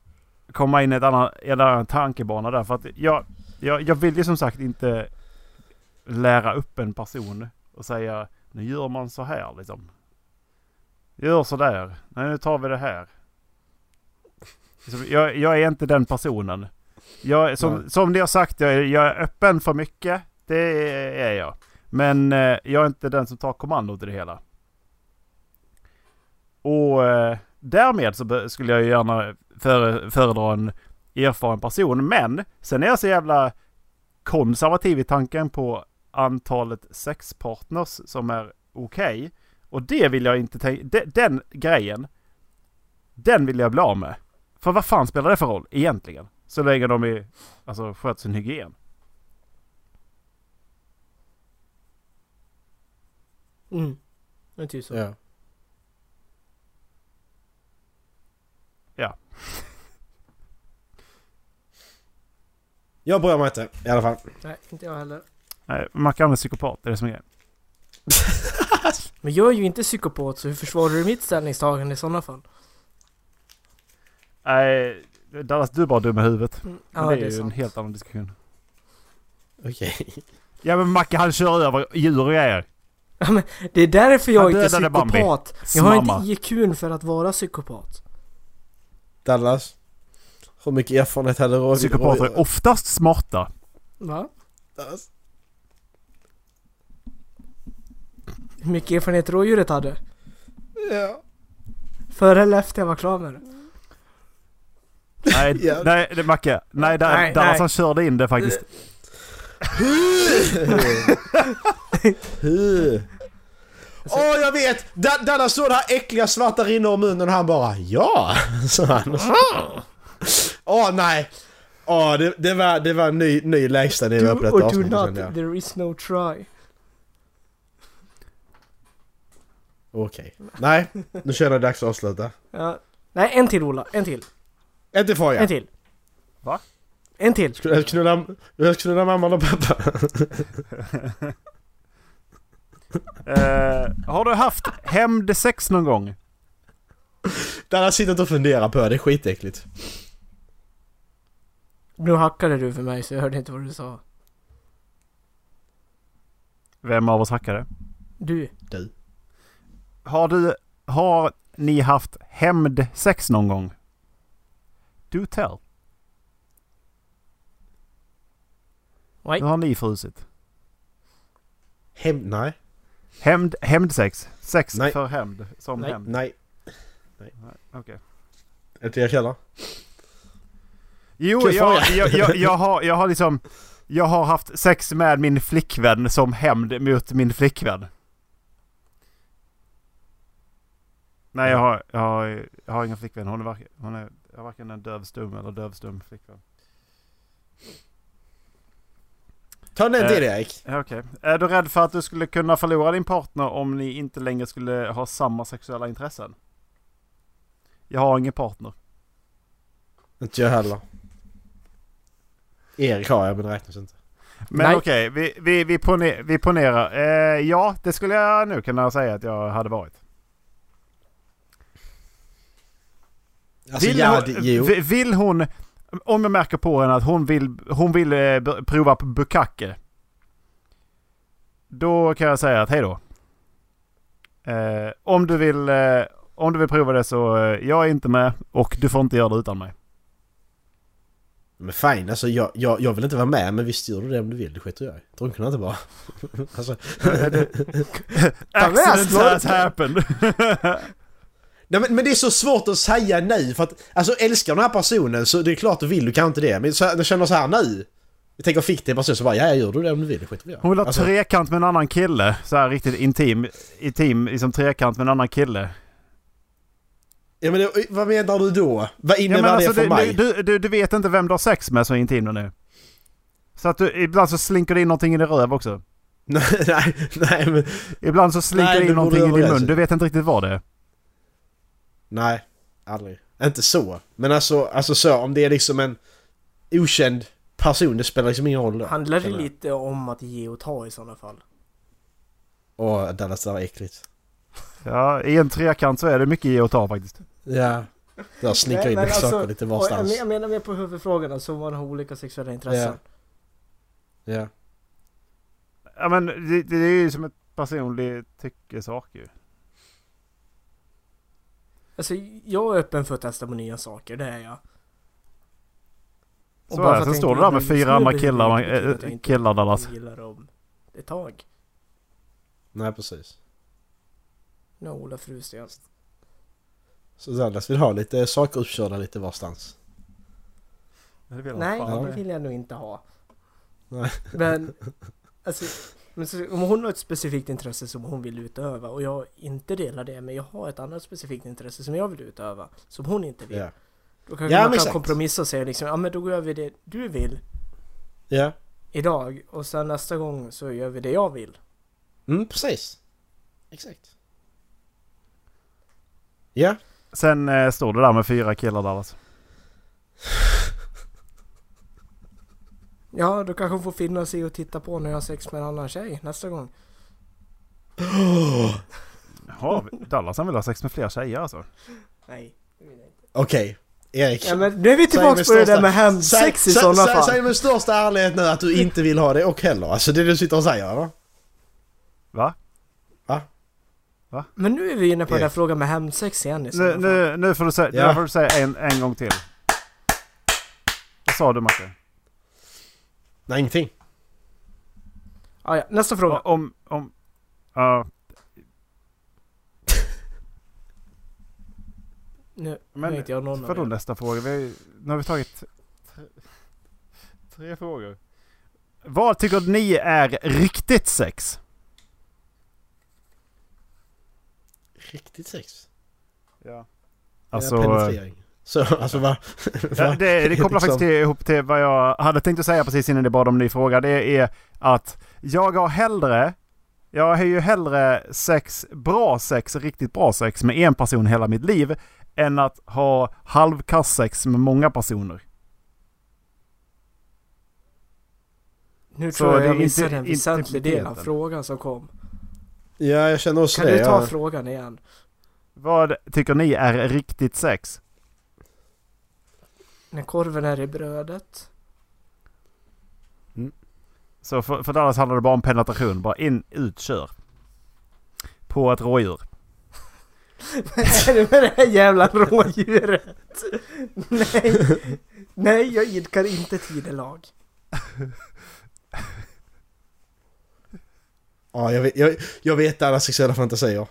komma in i ett annan, i en annan tankebana där. För att jag, jag, jag vill ju som sagt inte lära upp en person och säga nu gör man så här liksom. Gör så där. Nej, nu tar vi det här. Liksom, Jag, jag är inte den personen. Jag, är- som,
Nej.
som ni har sagt, jag är, jag är öppen för mycket. Det är jag. Men eh, jag är inte den som tar kommandot i det hela. Och eh, därmed så be- skulle jag ju gärna före, föredra en erfaren person. Men sen är jag så jävla konservativ i tanken på antalet sexpartners som är okej. Och det vill jag inte tänka... de- Den grejen. Den vill jag bli av med. För vad fan spelar det för roll egentligen? Så länge de är, alltså, sköter sin hygien.
Mm. Det är typ så.
Ja.
Ja.
<laughs> Jag bryr mig inte i alla fall.
Nej, inte jag heller.
Nej, Mackan är psykopat, det är det som är grejen.
Men jag är ju inte psykopat så hur försvarar du mitt ställningstagande i sådana fall?
Nej, Dallas du är bara dum i huvudet.
Mm,
Men det är, ju en helt annan diskussion.
Okej.
Ja men Macke han kör över djur och grejer.
Det är därför jag
Han
inte är
dödade Bambi.
psykopat. Jag har
Smamma.
inte IQn för att vara psykopat.
<laughs> Dallas. Hur mycket erfarenhet hade Roger?
Psykopater är oftast smarta.
Va?
Dallas.
Hur mycket erfarenhet rådjuret hade?
Ja.
Före eller efter jag var klar med det?
Nej,
<laughs> Ja.
nej det är Macke. Nej, där,
Nej,
Dallas
nej.
han körde in det faktiskt.
Huh.
Alltså-
Åh jag vet! Da Dallas såg det här äckliga svarta rinna om munnen och han bara ja, <laughs> sa han.
Ah.
Åh nej! Åh det, det var, det var en ny, ny lägstanivå på
Do
detta
or do
avsnittet
not,
kände jag.
there is no try.
Okej. Nej, nu känner jag det är dags att avsluta.
Ja. Nej, en till Ola. En till.
Inte får
En
jag.
till.
Va?
En till.
Skulle jag knulla, jag knulla mamman och pappa? <laughs>
Eh, har du haft hämndsex någon gång?
Dallas sitter och funderar på det, det är skitäckligt.
Nu hackade du för mig så jag hörde inte vad du sa.
Vem av oss hackade?
Du.
Du.
Har du... Har ni haft hämndsex någon gång? Do tell.
Nej.
Nu har ni frusit.
Hem, nej,
Hämnd, hämndsex. Sex
Nej.
för hämnd. Som
Nej.
hämnd.
nej.
Okej.
Inte jag heller.
Jo,
Okej,
jag,
sorry.
jag, jag, jag, har, jag har liksom... Jag har haft sex med min flickvän som hämnd mot min flickvän. Nej, jag har, jag har, jag har ingen flickvän. Hon är, varken, hon är jag har varken en dövstum eller dövstum flickvän.
Ta den till
Eh.
Erik.
Ja, Okej. Är du rädd för att du skulle kunna förlora din partner om ni inte längre skulle ha samma sexuella intressen? Jag har ingen partner.
Inte jag heller. Erik har jag men det räknas inte.
Men
Nej.
okej, vi, vi, vi, pone, vi ponerar. Eh, ja, det skulle jag nu kunna säga att jag hade varit.
Alltså
vill,
ja, det,
hon,
jo.
vi- vill hon, om jag märker på henne att hon vill, hon vill eh, b- prova på bukake. Då kan jag säga att hej då. Eh, om, du vill, eh, om du vill prova det så eh, jag är inte med och du får inte göra det utan mig.
Men fine, alltså jag, jag, jag vill inte vara med men visst gör du det om du vill, det skiter jag i. Drunkna inte bara. <laughs> alltså,
Accident
Slå-
has
<laughs>
happened.
nej, men, men det är så svårt att säga nej för att alltså älskar du den här personen så det är klart du vill, du kan inte det. Men så, jag känner så här nej. Jag tänker fiktiv person så bara ja, jag gör du det om du vill, det skiter vi i.
Hon vill ha
Alltså,
trekant med en annan kille. Så här riktigt intim, intim liksom trekant med en annan kille.
ja, men, det- vad menar du då? Vad innebär alltså, det för
du,
mig?
alltså, Du, du, du vet inte vem du har sex med så intimt nu. Så att du, ibland så slinker det in någonting i din röv också.
<laughs> Nej, nej, nej, men,
Ibland så slinker
Nej,
det
det
in
vore
någonting i din
överens.
mun. Du vet inte riktigt vad det är.
nej, aldrig. Inte så. Men alltså, alltså så, om det är liksom en okänd person, det spelar liksom ingen roll då.
Handlar det
känner jag.
lite om att ge och ta i sådana fall?
Åh, Dallas, det där var äckligt.
Ja, i en trekant så är det mycket ge och ta faktiskt.
Ja. Där snickar
Nej,
in
men
lite
alltså,
saker lite
Jag men-
varstans.
jag menar mer på huvudfrågan, alltså om man har olika sexuella intressen.
Ja.
Ja men det, det är ju som ett personligt tyckesak ju.
Alltså jag är öppen för att testa på nya saker, det är jag. Och
Så
bara för
är det.
att
Sen
jag
står du
inte
där med
gillar just
fyra
nu
andra
betyder
killar,
inte
eh,
att jag inte
killar Dallas.
gillar dem ett tag.
Nej, precis.
Nu har Ola Frusten.
Så Dallas vill ha lite saker uppkörda lite varstans.
Nej,
fan.
det vill jag nog inte ha.
Nej. <laughs>
Men, alltså, men så, om hon har ett specifikt intresse som hon vill utöva och jag inte delar det, men jag har ett annat specifikt intresse som jag vill utöva, som hon inte vill.
Ja.
Då kanske
Ja, men
man kan
exakt.
kompromissa och säga liksom, ja men då gör vi det du vill
Ja.
idag och sen nästa gång så gör vi det jag vill.
Mm, precis. Exakt. Ja.
Sen eh, står du där med fyra killar Dallas.
Ja, då kanske hon får finna sig och titta på när jag har sex med en annan tjej nästa gång.
Jaha, Dallas han vill ha sex med fler tjejer alltså.
Nej. det vill jag inte.
Okej, Erik.
Ja, men nu
Säg
är vi
med
tillbaka på det
största-
där med hemsex i
säg-
sådana
säg- Säg
fall. Mm.
med största ärlighet nu att du inte vill ha det och heller. Alltså det du sitter och säger va?
Va?
Men nu är vi inne på den där
Erik.
frågan med hemsex igen i sådana
Nu,
fall.
nu, nu får du säga,
Ja.
nu får du säga en, en gång till. Vad sa du Matte?
Nej, ingenting.
Ah, ja. Nästa fråga.
Om... om ja,
Nu
Men
men, inte jag någon av
vadå
er.
nästa fråga? Vi, har ju- nu har vi tagit tre, tre frågor. Vad tycker ni är riktigt sex?
Riktigt sex.
Ja.
Alltså...
Alltså,
Penetrering. Så, alltså va?
ja, det, det kopplar faktiskt till, ihop till vad jag hade tänkt att säga precis innan ni bad om en ny fråga. Det är att jag har hellre, jag har ju hellre sex, bra sex, riktigt bra sex med en person hela mitt liv än att ha halvkass sex med många personer.
Nu
Så
tror jag
det är
jag missade
inte-
en väsentlig del av
intimiteten.
frågan som kom.
Ja, jag känner också
Kan
det.
du ta
ja.
frågan igen?
Vad tycker ni är riktigt sex?
När korven är i brödet.
Så för, för Dallas handlar det bara om penetration. Bara in, ut, kör. På ett rådjur.
<laughs> är det med det här jävla rådjuret? Nej. Nej, jag idkar inte tidelag.
Ja, jag vet, jag, jag vet alla sexuella fantasier.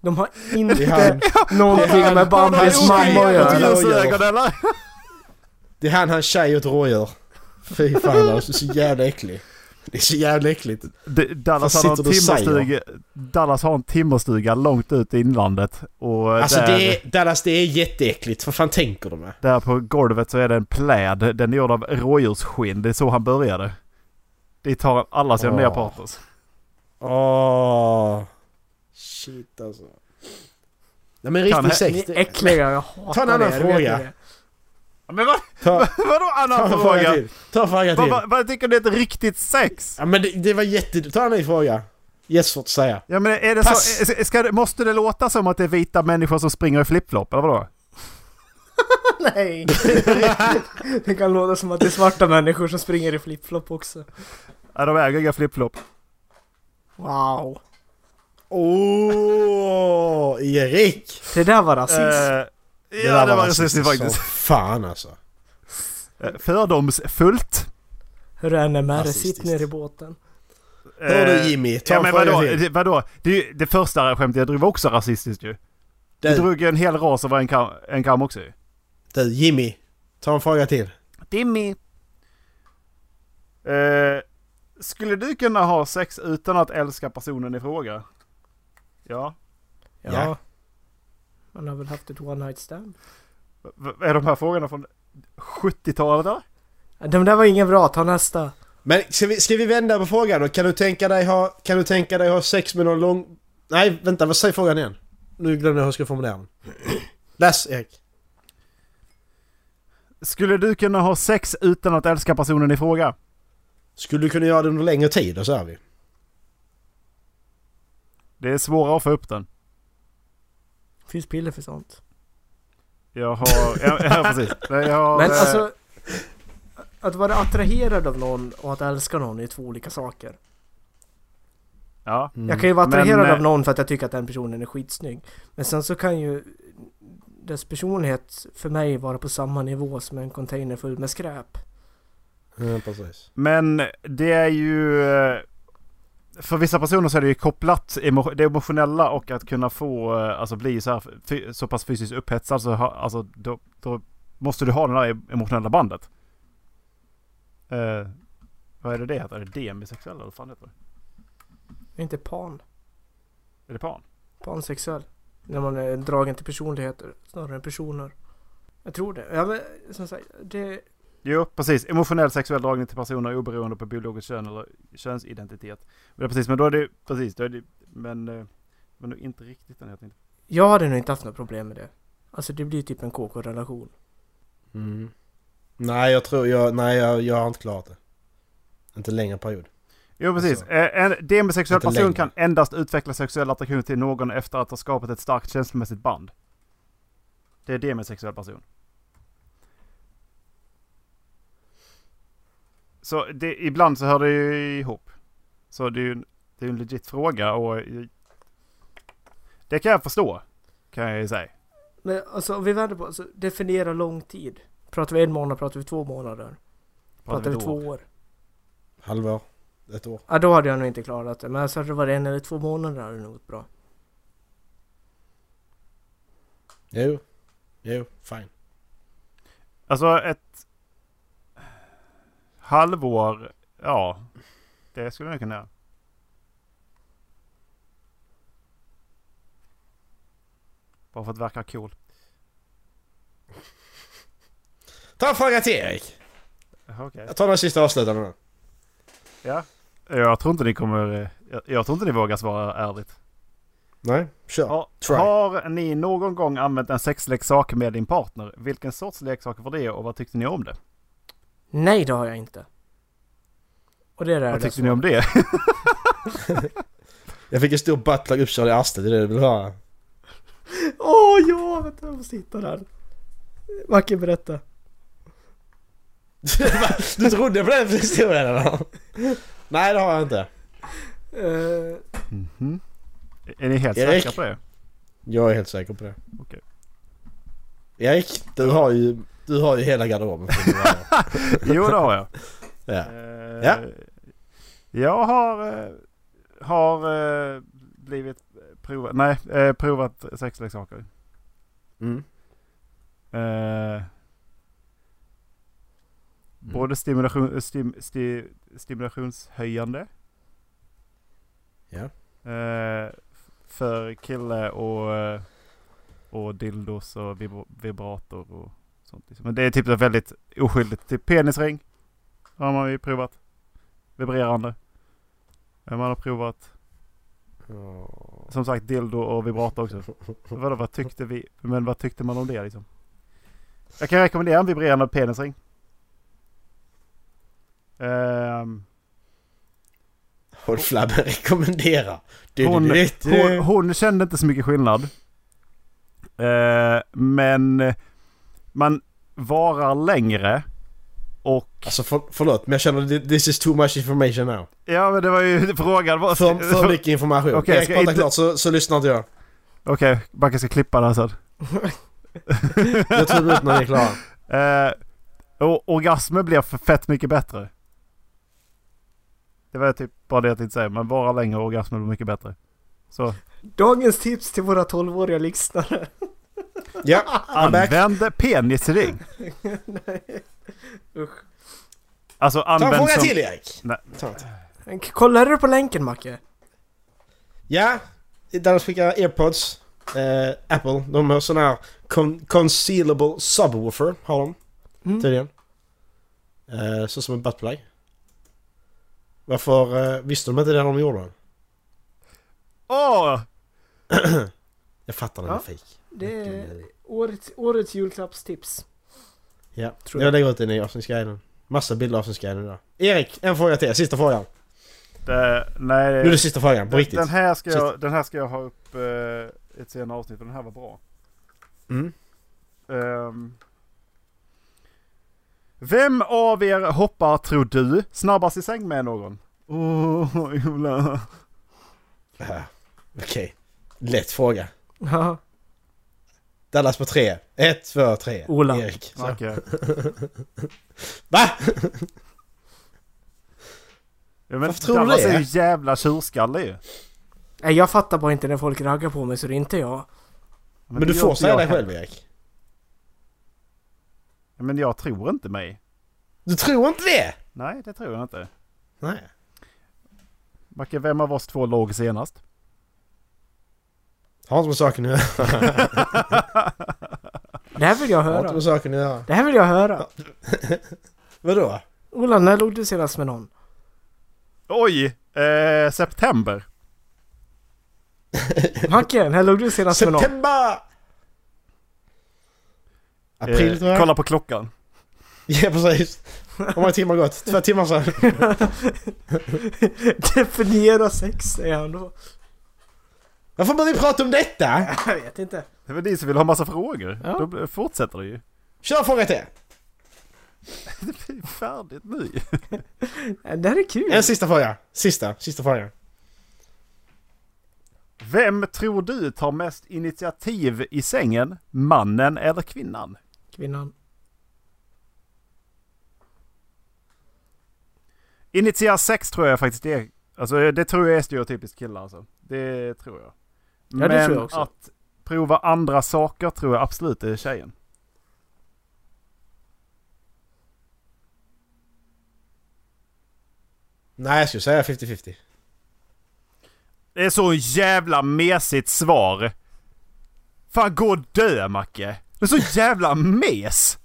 De har inte
Det är han,
<laughs> någonting med Bambis mamma att göra.
Rådjursögon eller?
det är han, han tjej och ett rådjur. Fy fan, han är så jävla äcklig. Det är så jävla äckligt.
D- Dallas
Vad
har, en
sitter du och säger?
timmerstuga, Dallas har en timmerstuga långt ut i inlandet. Och
Alltså
där,
det är, Dallas, det är jätteäckligt. Vad fan tänker du med?
där på golvet så är det en pläd. Den är gjord av rådjursskinn. Det är så han började. Dit tar han alla sina
Åh.
nya partners.
Åh. Shit alltså. Nej men
Kan
riktigt
här-
sex.
Ni är
det-
äckliga, jag hatar
Ta en annan
er, vet ni
fråga.
det?
Men vad, <laughs>
Ta,
vadå
ta
annan
en
fråga?
fråga till. Ta en fråga
Vad,
till.
vad, vad tycker ni är ett riktigt sex?
Ja men det, det var jätte... Ta en ny fråga. Jättesvårt att säga.
Ja men är det
Pass.
så, ska, det- måste det låta som att det är vita människor som springer i flipflop eller vadå?
Nej! <laughs> Det kan låta som att det är svarta människor som springer i flipflop också.
Ja de äger inga flipflop.
Wow!
Åh, Erik!
Det där var rasism.
Eh, ja det var rasistiskt
som
faktiskt.
Fan alltså.
Eh, Fördomsfullt.
Hur är NMR?
rasistiskt.
Sitt ner i båten.
Hör
Eh,
du Jimmy, ta
Ja,
en
men
fråga
vadå?
till.
Det, vadå? Det, är ju- det första skämtet jag drog var också rasistiskt ju. Jag
Du,
drog ju en hel ras över en kam, en kam också ju.
du, Jimmy. Ta en fråga till.
Dimmy! Eh, skulle du kunna ha sex utan att älska personen i fråga? Ja.
Ja.
Ja.
Man har väl haft ett one night stand.
V- v- är de här frågorna från 70-talet eller?
Ja, De där var ingen bra, ta nästa.
Men ska vi, ska vi vända på frågan då? Kan du tänka dig ha, kan du tänka dig ha sex med någon lång... Nej, vänta, vad säger frågan igen? Nu glömde jag hur jag ska formulera den. Läs Erik.
Skulle du kunna ha sex utan att älska personen i fråga?
Skulle du kunna göra det under längre tid? Då säger vi.
Det är svårare att få upp den.
Finns piller för sånt.
Jag har... <laughs> Ja, ja precis. Nej, Jag har,
Men
eh,
alltså... Att vara attraherad av någon och att älska någon är två olika saker.
Ja.
Mm.
Jag kan ju vara
Men,
attraherad
eh,
av någon för att jag tycker att den personen är skitsnygg. Men sen så kan ju dess personlighet för mig vara på samma nivå som en container full med skräp.
Ja, precis.
Men det är ju... eh, För vissa personer så är det ju kopplat emo- det emotionella och att kunna få, eh, alltså bli så, här, fy- så pass fysiskt upphetsad så ha, alltså, då, då måste du ha det där emotionella bandet. Eh, vad är det det heter? Är det demisexuell eller vad fan heter det?
Jag är inte pan.
Är det pan?
Pansexuell. När man är dragen till personligheter snarare än personer. Jag tror det. Ja men som sagt, det...
Jo, precis. Emotionell sexuell dragning till personer oberoende på biologiskt kön eller könsidentitet. Men, precis, men då är det precis, då är det, men, eh, men då inte riktigt den jag tänkte.
Jag hade nog inte haft några problem med det. Alltså det blir typ en KK-relation.
Mm. Nej, jag tror... Jag, nej, jag, jag har inte klarat det. Inte längre period.
Jo, precis.
Alltså-
Eh, En demisexuell
Inte
person
längre.
kan endast utveckla sexuell attraktion till någon efter att ha skapat ett starkt känslomässigt band. Det är demisexuell person. Så det, ibland så hör det ju ihop. Så det är ju en, det är en legit fråga och eh, det kan jag förstå. Kan jag ju säga.
Men alltså om vi vänder på alltså, definiera lång tid. Pratar vi en månad, pratar vi två månader? Pratar vi
då.
två år?
Halvår. Ett år.
Ja, då hade jag nog inte klarat det. Men alltså hade det varit en eller två månader hade det nog gått bra.
Jo. Jo, fine.
Alltså ett halvår, ja. Det skulle jag kunna göra. Bara för att verka cool.
Ta en fråga till Erik.
Jaha, Okej.
Jag tar den sista avslutande då.
Ja. Jag tror inte ni kommer... eh, Jag, jag tror inte ni vågar svara ärligt.
Nej, kör.
Har,
try.
har ni någon gång använt en sexleksak med din partner? Vilken sorts leksak var det och vad tyckte ni om det?
Nej, det har jag inte. Och det är det
Vad
jag
tyckte
svarar.
ni om det?
Jag fick en stor buttplug uppkörd i arslet, det är det du vill höra.
Åh ja, vänta jag måste hitta den. Macke berätta.
<laughs> du trodde på den historien eller? Nej det har jag inte.
Eh,
Mhm. Är ni helt
Erik?
säkra på det? <laughs>
Jag är helt säker på det.
Okej.
Erik, du har ju, du har ju hela garderoben. för att
<laughs>
vara här.
Jo, det har jag.
ja.
Eh,
Ja.
Jag har, eh, har eh, blivit provat, nej, eh, provat sexleksaker.
Mm.
Eh, Både stimulation, eh, stim, sti, stimulationshöjande.
Ja.
Eh, f- för kille och, eh, och dildos och vibra- vibrator och sånt. liksom. Men det är typ ett väldigt oskyldigt. Typ penisring har man ju provat. Vibrerande. Eh, Man har provat som sagt dildo och vibrator också. Vadå, vad tyckte vi? Men vad tyckte man om det liksom? Jag kan rekommendera en vibrerande penisring. Ehm,
Håll flabben rekommendera. Du,
hon,
du, du, du.
hon, hon kände inte så mycket skillnad. Eh, men man varar längre. Och
Alltså för, förlåt men jag känner that this is too much information now.
ja men det var ju <laughs> frågan. Vad-
För,
<laughs>
för mycket information.
Okej,
Okay, Efter
okej,
pratar
inte-
klart så, så lyssnar inte jag.
Okej, Backe ska klippa det här sen.
Jag tar
<laughs>
ut när ni är klara.
Eh, och orgasmen blir för fett mycket bättre. Det var typ bara det jag tänkte säga, men bara längre och orgasmen blir mycket bättre. Så
dagens tips till våra 12-åriga lyssnare.
Ja, I'm back.
använd penisring.
Usch.
Alltså
Ta en
använd
fråga
som...
till Erik.
Nej.
Ta en till.
Kollade du på länken Macke?
Ja, Dallas skickar airpods. Eh, Apple, de har sån här con- concealable subwoofer har de
Mm.
tydligen. Eh, så som en buttplug. Varför eh, visste de inte det när de gjorde den?
Åh!
Jag fattar den
Ja.
är fejk.
Det är årets, årets julklappstips.
Ja,
Tror
tror
jag.
jag. lägger ut den i avsnittsguiden. Massa bilder i avsnittsguiden idag. Erik, en fråga till. Sista frågan.
Det, nej,
Nu är det sista frågan, på
Eh, den,
riktigt.
den, här ska
Shit.
jag, den här ska jag ha upp eh, i ett senare avsnitt, för den här var bra.
Mm.
Ehm. vem av er hoppar, tror du, snabbast i säng med någon? Åh, oh, Ola.
Ah, Okej. Lätt fråga.
Ja.
Dallas på tre. Ett, två, tre.
Ola.
Erik. Så.
Macke.
<laughs> Va?
Ja, men
Varför tror du
Dallas
det?
är ju jävla tjurskalle ju.
Nej, jag fattar bara inte när folk raggar på mig så det är inte jag.
Men,
det
du
gör
får
inte
säga
jag
det
heller.
själv Erik.
Ja, Men jag tror inte mig.
Du tror inte det?
Nej, det tror jag inte.
Nej.
Macke, vem av oss två låg senast?
Har inte med saken att göra.
Det här vill jag
Har inte
höra.
med saken att göra.
Det här vill jag höra.
Vadå?
Ola, när låg du senast med någon?
Oj! Eh, september.
Macke, när låg du senast med någon?
September! Eh, April tror
eh,
jag.
kolla på klockan.
<laughs> Ja precis. Hur många timmar har gått? Två timmar sedan.
<laughs> Definiera sex säger han då.
Varför börjar vi prata om detta?
Jag vet inte.
Det är väl ni som vill ha massa frågor?
Ja.
Då blir- fortsätter det ju. <laughs>
Kör fråga till.
Det blir färdigt nu
Nej, Det här är kul.
En sista fråga. Sista, sista frågan.
Vem tror du tar mest initiativ i sängen? Mannen eller kvinnan?
Kvinnan.
Initiera sex tror jag faktiskt det är. Alltså det tror jag är stereotypiskt killar alltså. Det tror jag.
Ja, det
Men
tror jag också.
att prova andra saker tror jag absolut är tjejen.
Nej, jag skulle säga 50-50.
Det är så jävla mesigt svar. Fan gå och dö Macke. Det är så jävla mes.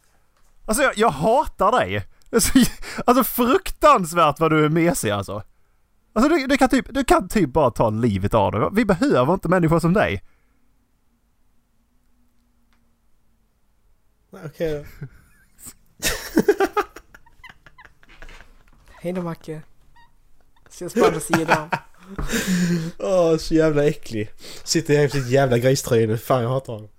Alltså jag, jag hatar dig. Det är så, j- alltså fruktansvärt vad du är mesig alltså. Alltså du, du, kan typ, du kan typ bara ta livet av dig. Vi behöver inte människor som dig.
Nej, Okej då.
Hej då Macke. Ses på andra sidan.
Åh, så jävla äcklig. Sitter jag i sitt jävla griströja nu. Fan, jag hatar honom.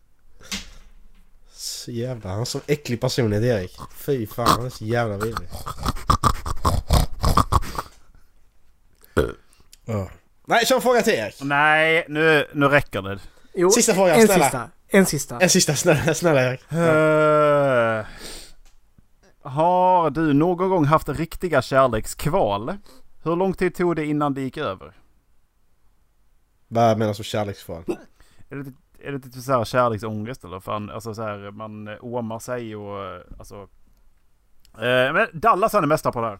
Så jävla... Han är så äcklig personlighet, Erik. Fy fan, han är så jävla vidrig. Ja. Nej, kör en fråga till Erik.
Nej, nu, nu räcker det.
Jo,
Sista frågan,
en
snälla.
sista. En sista.
En sista, snälla, snälla Erik.
Eh, har du någon gång haft riktiga kärlekskval? Hur lång tid tog det innan det gick över?
Vad menas med kärleksfrågan?
Är det, är det typ så här kärleksångest eller fan, alltså så här man eh, åmar sig och eh, alltså. Eh, men Dallas han är mästare på det här.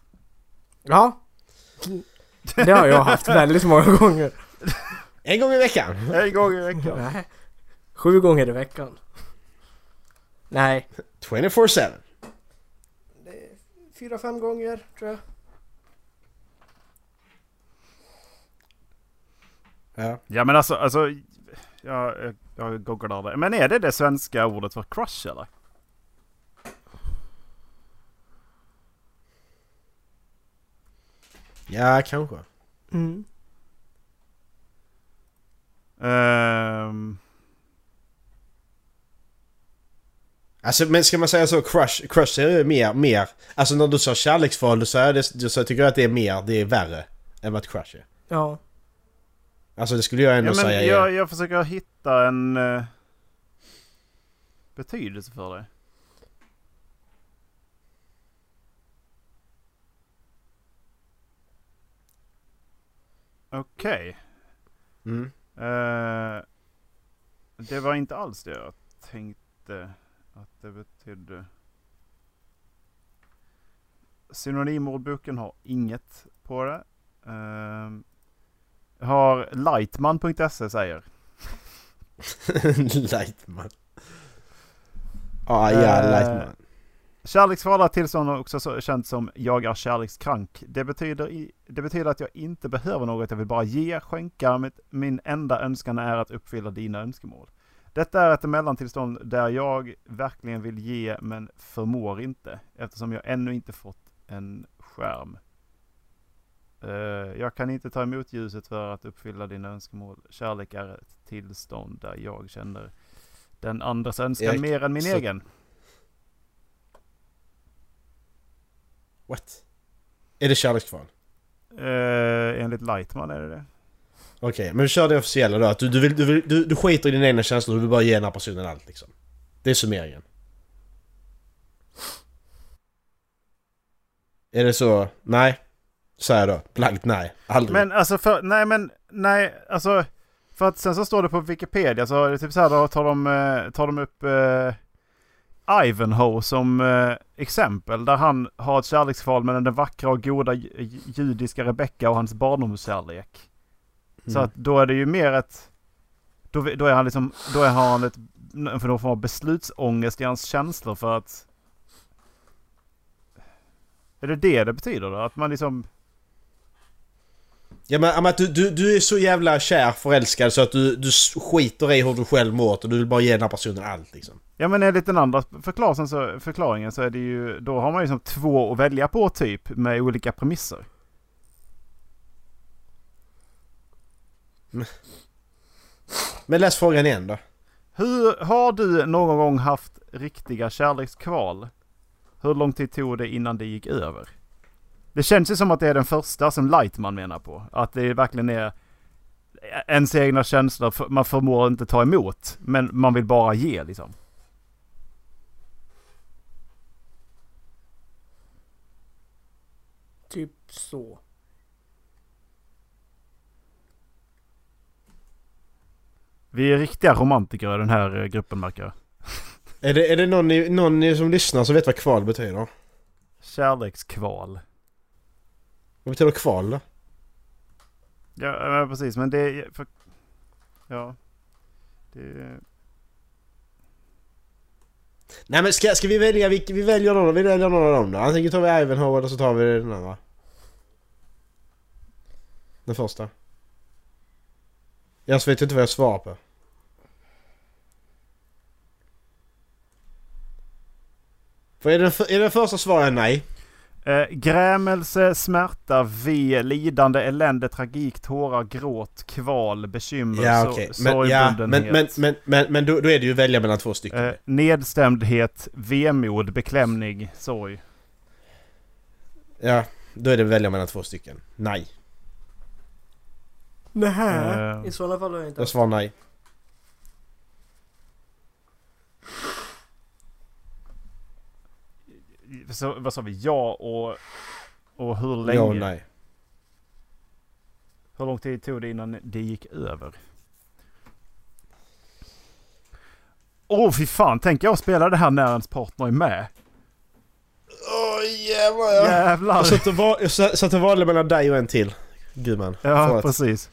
Ja. Det har jag haft väldigt många gånger.
En gång i veckan.
En gång i veckan.
Nej. Sju gånger i veckan. Nej.
24-7.
Fyra, fem gånger tror jag.
Ja.
Ja men alltså, alltså jag, jag- jag googlar det. Men är det det svenska ordet för crush eller?
ja, kanske.
Mm.
Ehm,
Alltså, men ska man säga så, crush, crush är ju mer, mer. Alltså när du sa kärleksförhållande så, är det, så tycker jag att det är mer, det är värre än vad ett crush är.
Ja.
Alltså det skulle jag ändå
ja, men
säga.
jag, jag försöker hitta en eh, betydelse för det. Okej.
Mm. <laughs>
Eh, det var inte alls det jag tänkte att det betydde. Synonimordboken har inget på det. Ehm, har lightman.se E säger.
Lightman. Ah, ja,
Eh,
Lightman.
Kärleksfulla tillstånd har också så- känts som jag är kärlekskrank. Det betyder, i, det betyder att jag inte behöver något, jag vill bara ge, skänka. Mitt, min enda önskan är att uppfylla dina önskemål. Detta är ett mellantillstånd där jag verkligen vill ge men förmår inte eftersom jag ännu inte fått en skärm. Eh, jag kan inte ta emot ljuset för att uppfylla dina önskemål. Kärlek är ett tillstånd där jag känner den andras önskan
Erik,
mer än min
så-
egen.
What? Är det kärlekskval?
Uh, enligt Lightman är det det.
Okej, men kör det officiella då. Att du, du, vill, du, vill, du, du skiter i dina egna känslor, du vill bara ge den här personen allt liksom. Det är summeringen. Är det så? Nej. Säger jag då. Blankt nej. Aldrig.
Men alltså för, nej men, nej alltså. För att sen så står det på Wikipedia så är det typ så här då tar de, eh, tar de upp eh, Ivanhoe som eh, exempel. Där han har ett kärleksförhållande mellan den vackra och goda ju- ju- judiska Rebecka och hans barndomskärlek. Så
Mm.
att då är det ju mer ett, då, vi- då är han liksom, då är han ett, för någon form av beslutsångest i hans känslor för att är det det det betyder då? Att man liksom...
Ja men, ja, men att du, du, du är så jävla kär förälskad så att du, du skiter i hur du själv mår och du vill bara ge den här personen allt liksom.
Ja men enligt den andra förklaringen så, förklaringen så är det ju, då har man ju som två att välja på typ med olika premisser.
Men läs frågan igen då.
Hur, har du någon gång haft riktiga kärlekskval? Hur lång tid tog det innan det gick över? Det känns ju som att det är den första som Lightman menar på. Att det verkligen är ens egna känslor, för- man förmår inte ta emot. Men man vill bara ge liksom.
Typ så.
Vi är riktiga romantiker i den här eh, gruppen märker jag.
Är det, är det någon, i- någon i- som lyssnar som vet vad kval betyder?
Kärlekskval.
Vad betyder kval då?
Ja, ja precis men det är... För, ja. Det,
Nej men ska, ska vi välja vilken? Vi väljer någon, vi väljer någon av dem då. Antingen tar vi Ivanhoe eller så tar vi den andra. Den första. Jag vet inte vad jag svarar på. För är den, för, är den första svaret nej?
Eh, grämelse, smärta, ve, lidande, elände, tragik, tårar, gråt, kval, bekymmer,
Ja
so-
okej. Men, ja, men,
sorgbundenhet.
men, men, men, men då, då är det ju att välja mellan två stycken.
Eh, nedstämdhet, vemod, beklämning, sorg.
Ja, då är det att välja mellan två stycken. Nej.
Nähä.
Eh,
I sådana fall har jag inte
Jag
haft.
svarar nej.
så, vad sa vi? Ja och... Och hur länge?
Ja och nej.
Hur lång tid tog det innan det gick över? Åh oh, fy fan, tänk jag spela det här när ens partner är med.
Åh jävlar ja. Alltså,
Jävlar!
Jag satt och, val, jag satt satt och valde mellan dig och en till. Gud man.
Ja,
Förlåt.
precis.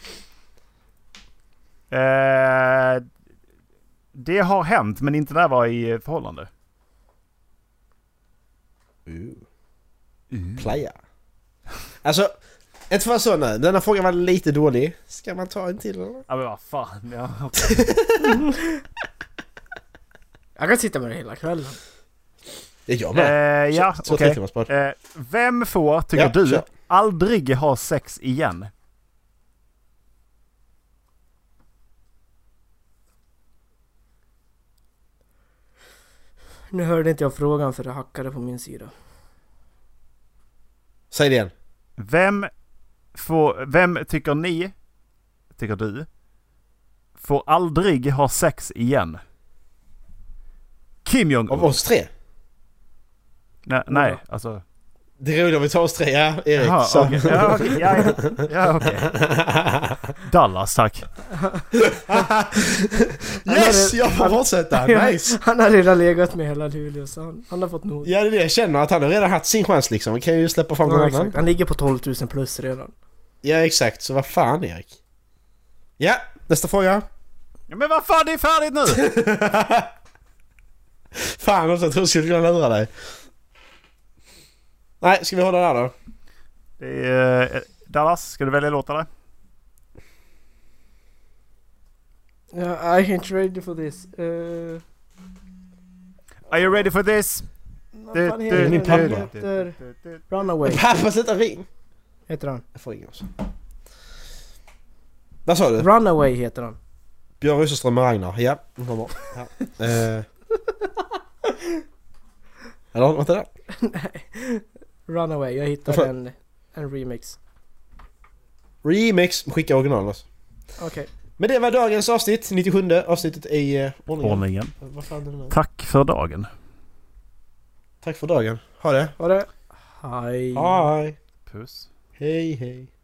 Eh, det har hänt, men inte när jag var i eh, förhållande.
Uh. Playa. Alltså, inte för att så nej. Denna frågan var lite dålig. Ska man ta en till eller?
Ja, men vad fan. Ja, okej.
Jag kan sitta med det hela kvällen.
Det är jag
eh,
med.
ja,
så, så
okej.
trycker man spart.
Eh, vem får, tycker
Ja,
du,
kör.
aldrig ha sex igen?
Nu hörde inte jag frågan för det hackade på min sida.
Säg det igen.
Vem får, vem tycker ni, tycker du, får aldrig ha sex igen? Kim
Av
Jong-Un?
oss tre?
Nej, nej, alltså...
Det är roligt om vi tar oss tre. Ja, Erik.
Jaha,
så.
okej. Ja, okej. Ja, ja. ja, okej. <laughs> Dallas, tack.
<laughs> Yes! Jag får fortsätta. Nice!
<laughs> han har redan legat med hela Luleå så han, han har fått nog.
Ja det är det jag känner, att han har redan haft sin chans liksom. Vi kan ju släppa fram någon
Ja,
annan.
exakt. Han ligger på 12 000 plus redan.
Ja exakt, så vad fan Erik? Ja, nästa fråga.
Ja, men vad fan, det är färdigt nu!
Fan också, jag trodde jag skulle kunna lura dig. Nej, ska vi hålla där då?
Det är, eh, Dallas, ska du välja låt eller?
Ja, I ain't ready for this. Uh,
Are you ready for this?
vad fan
Du-
heter
du-
den?
min
Han
pappa.
heter Runaway.
Pappa sluta ring!
Heter han.
Jag får ringa också. Vad sa du?
<laughs> Runaway heter han.
Björn Rosenström med Ragnar. Ja, det var bra. Ja. Eh. Eller vänta där.
Runaway. Jag hittade
Varför?
en, en remix.
Remix, skicka originalen också.
Okej.
Men det var dagens avsnitt, 97 avsnittet i eh, ordningen.
Ordningen.
Vad fan är det där?
Tack för dagen.
Tack för dagen. Ha det.
Var det? Hej.
Ah. Hej.
Puss.
Hej hej.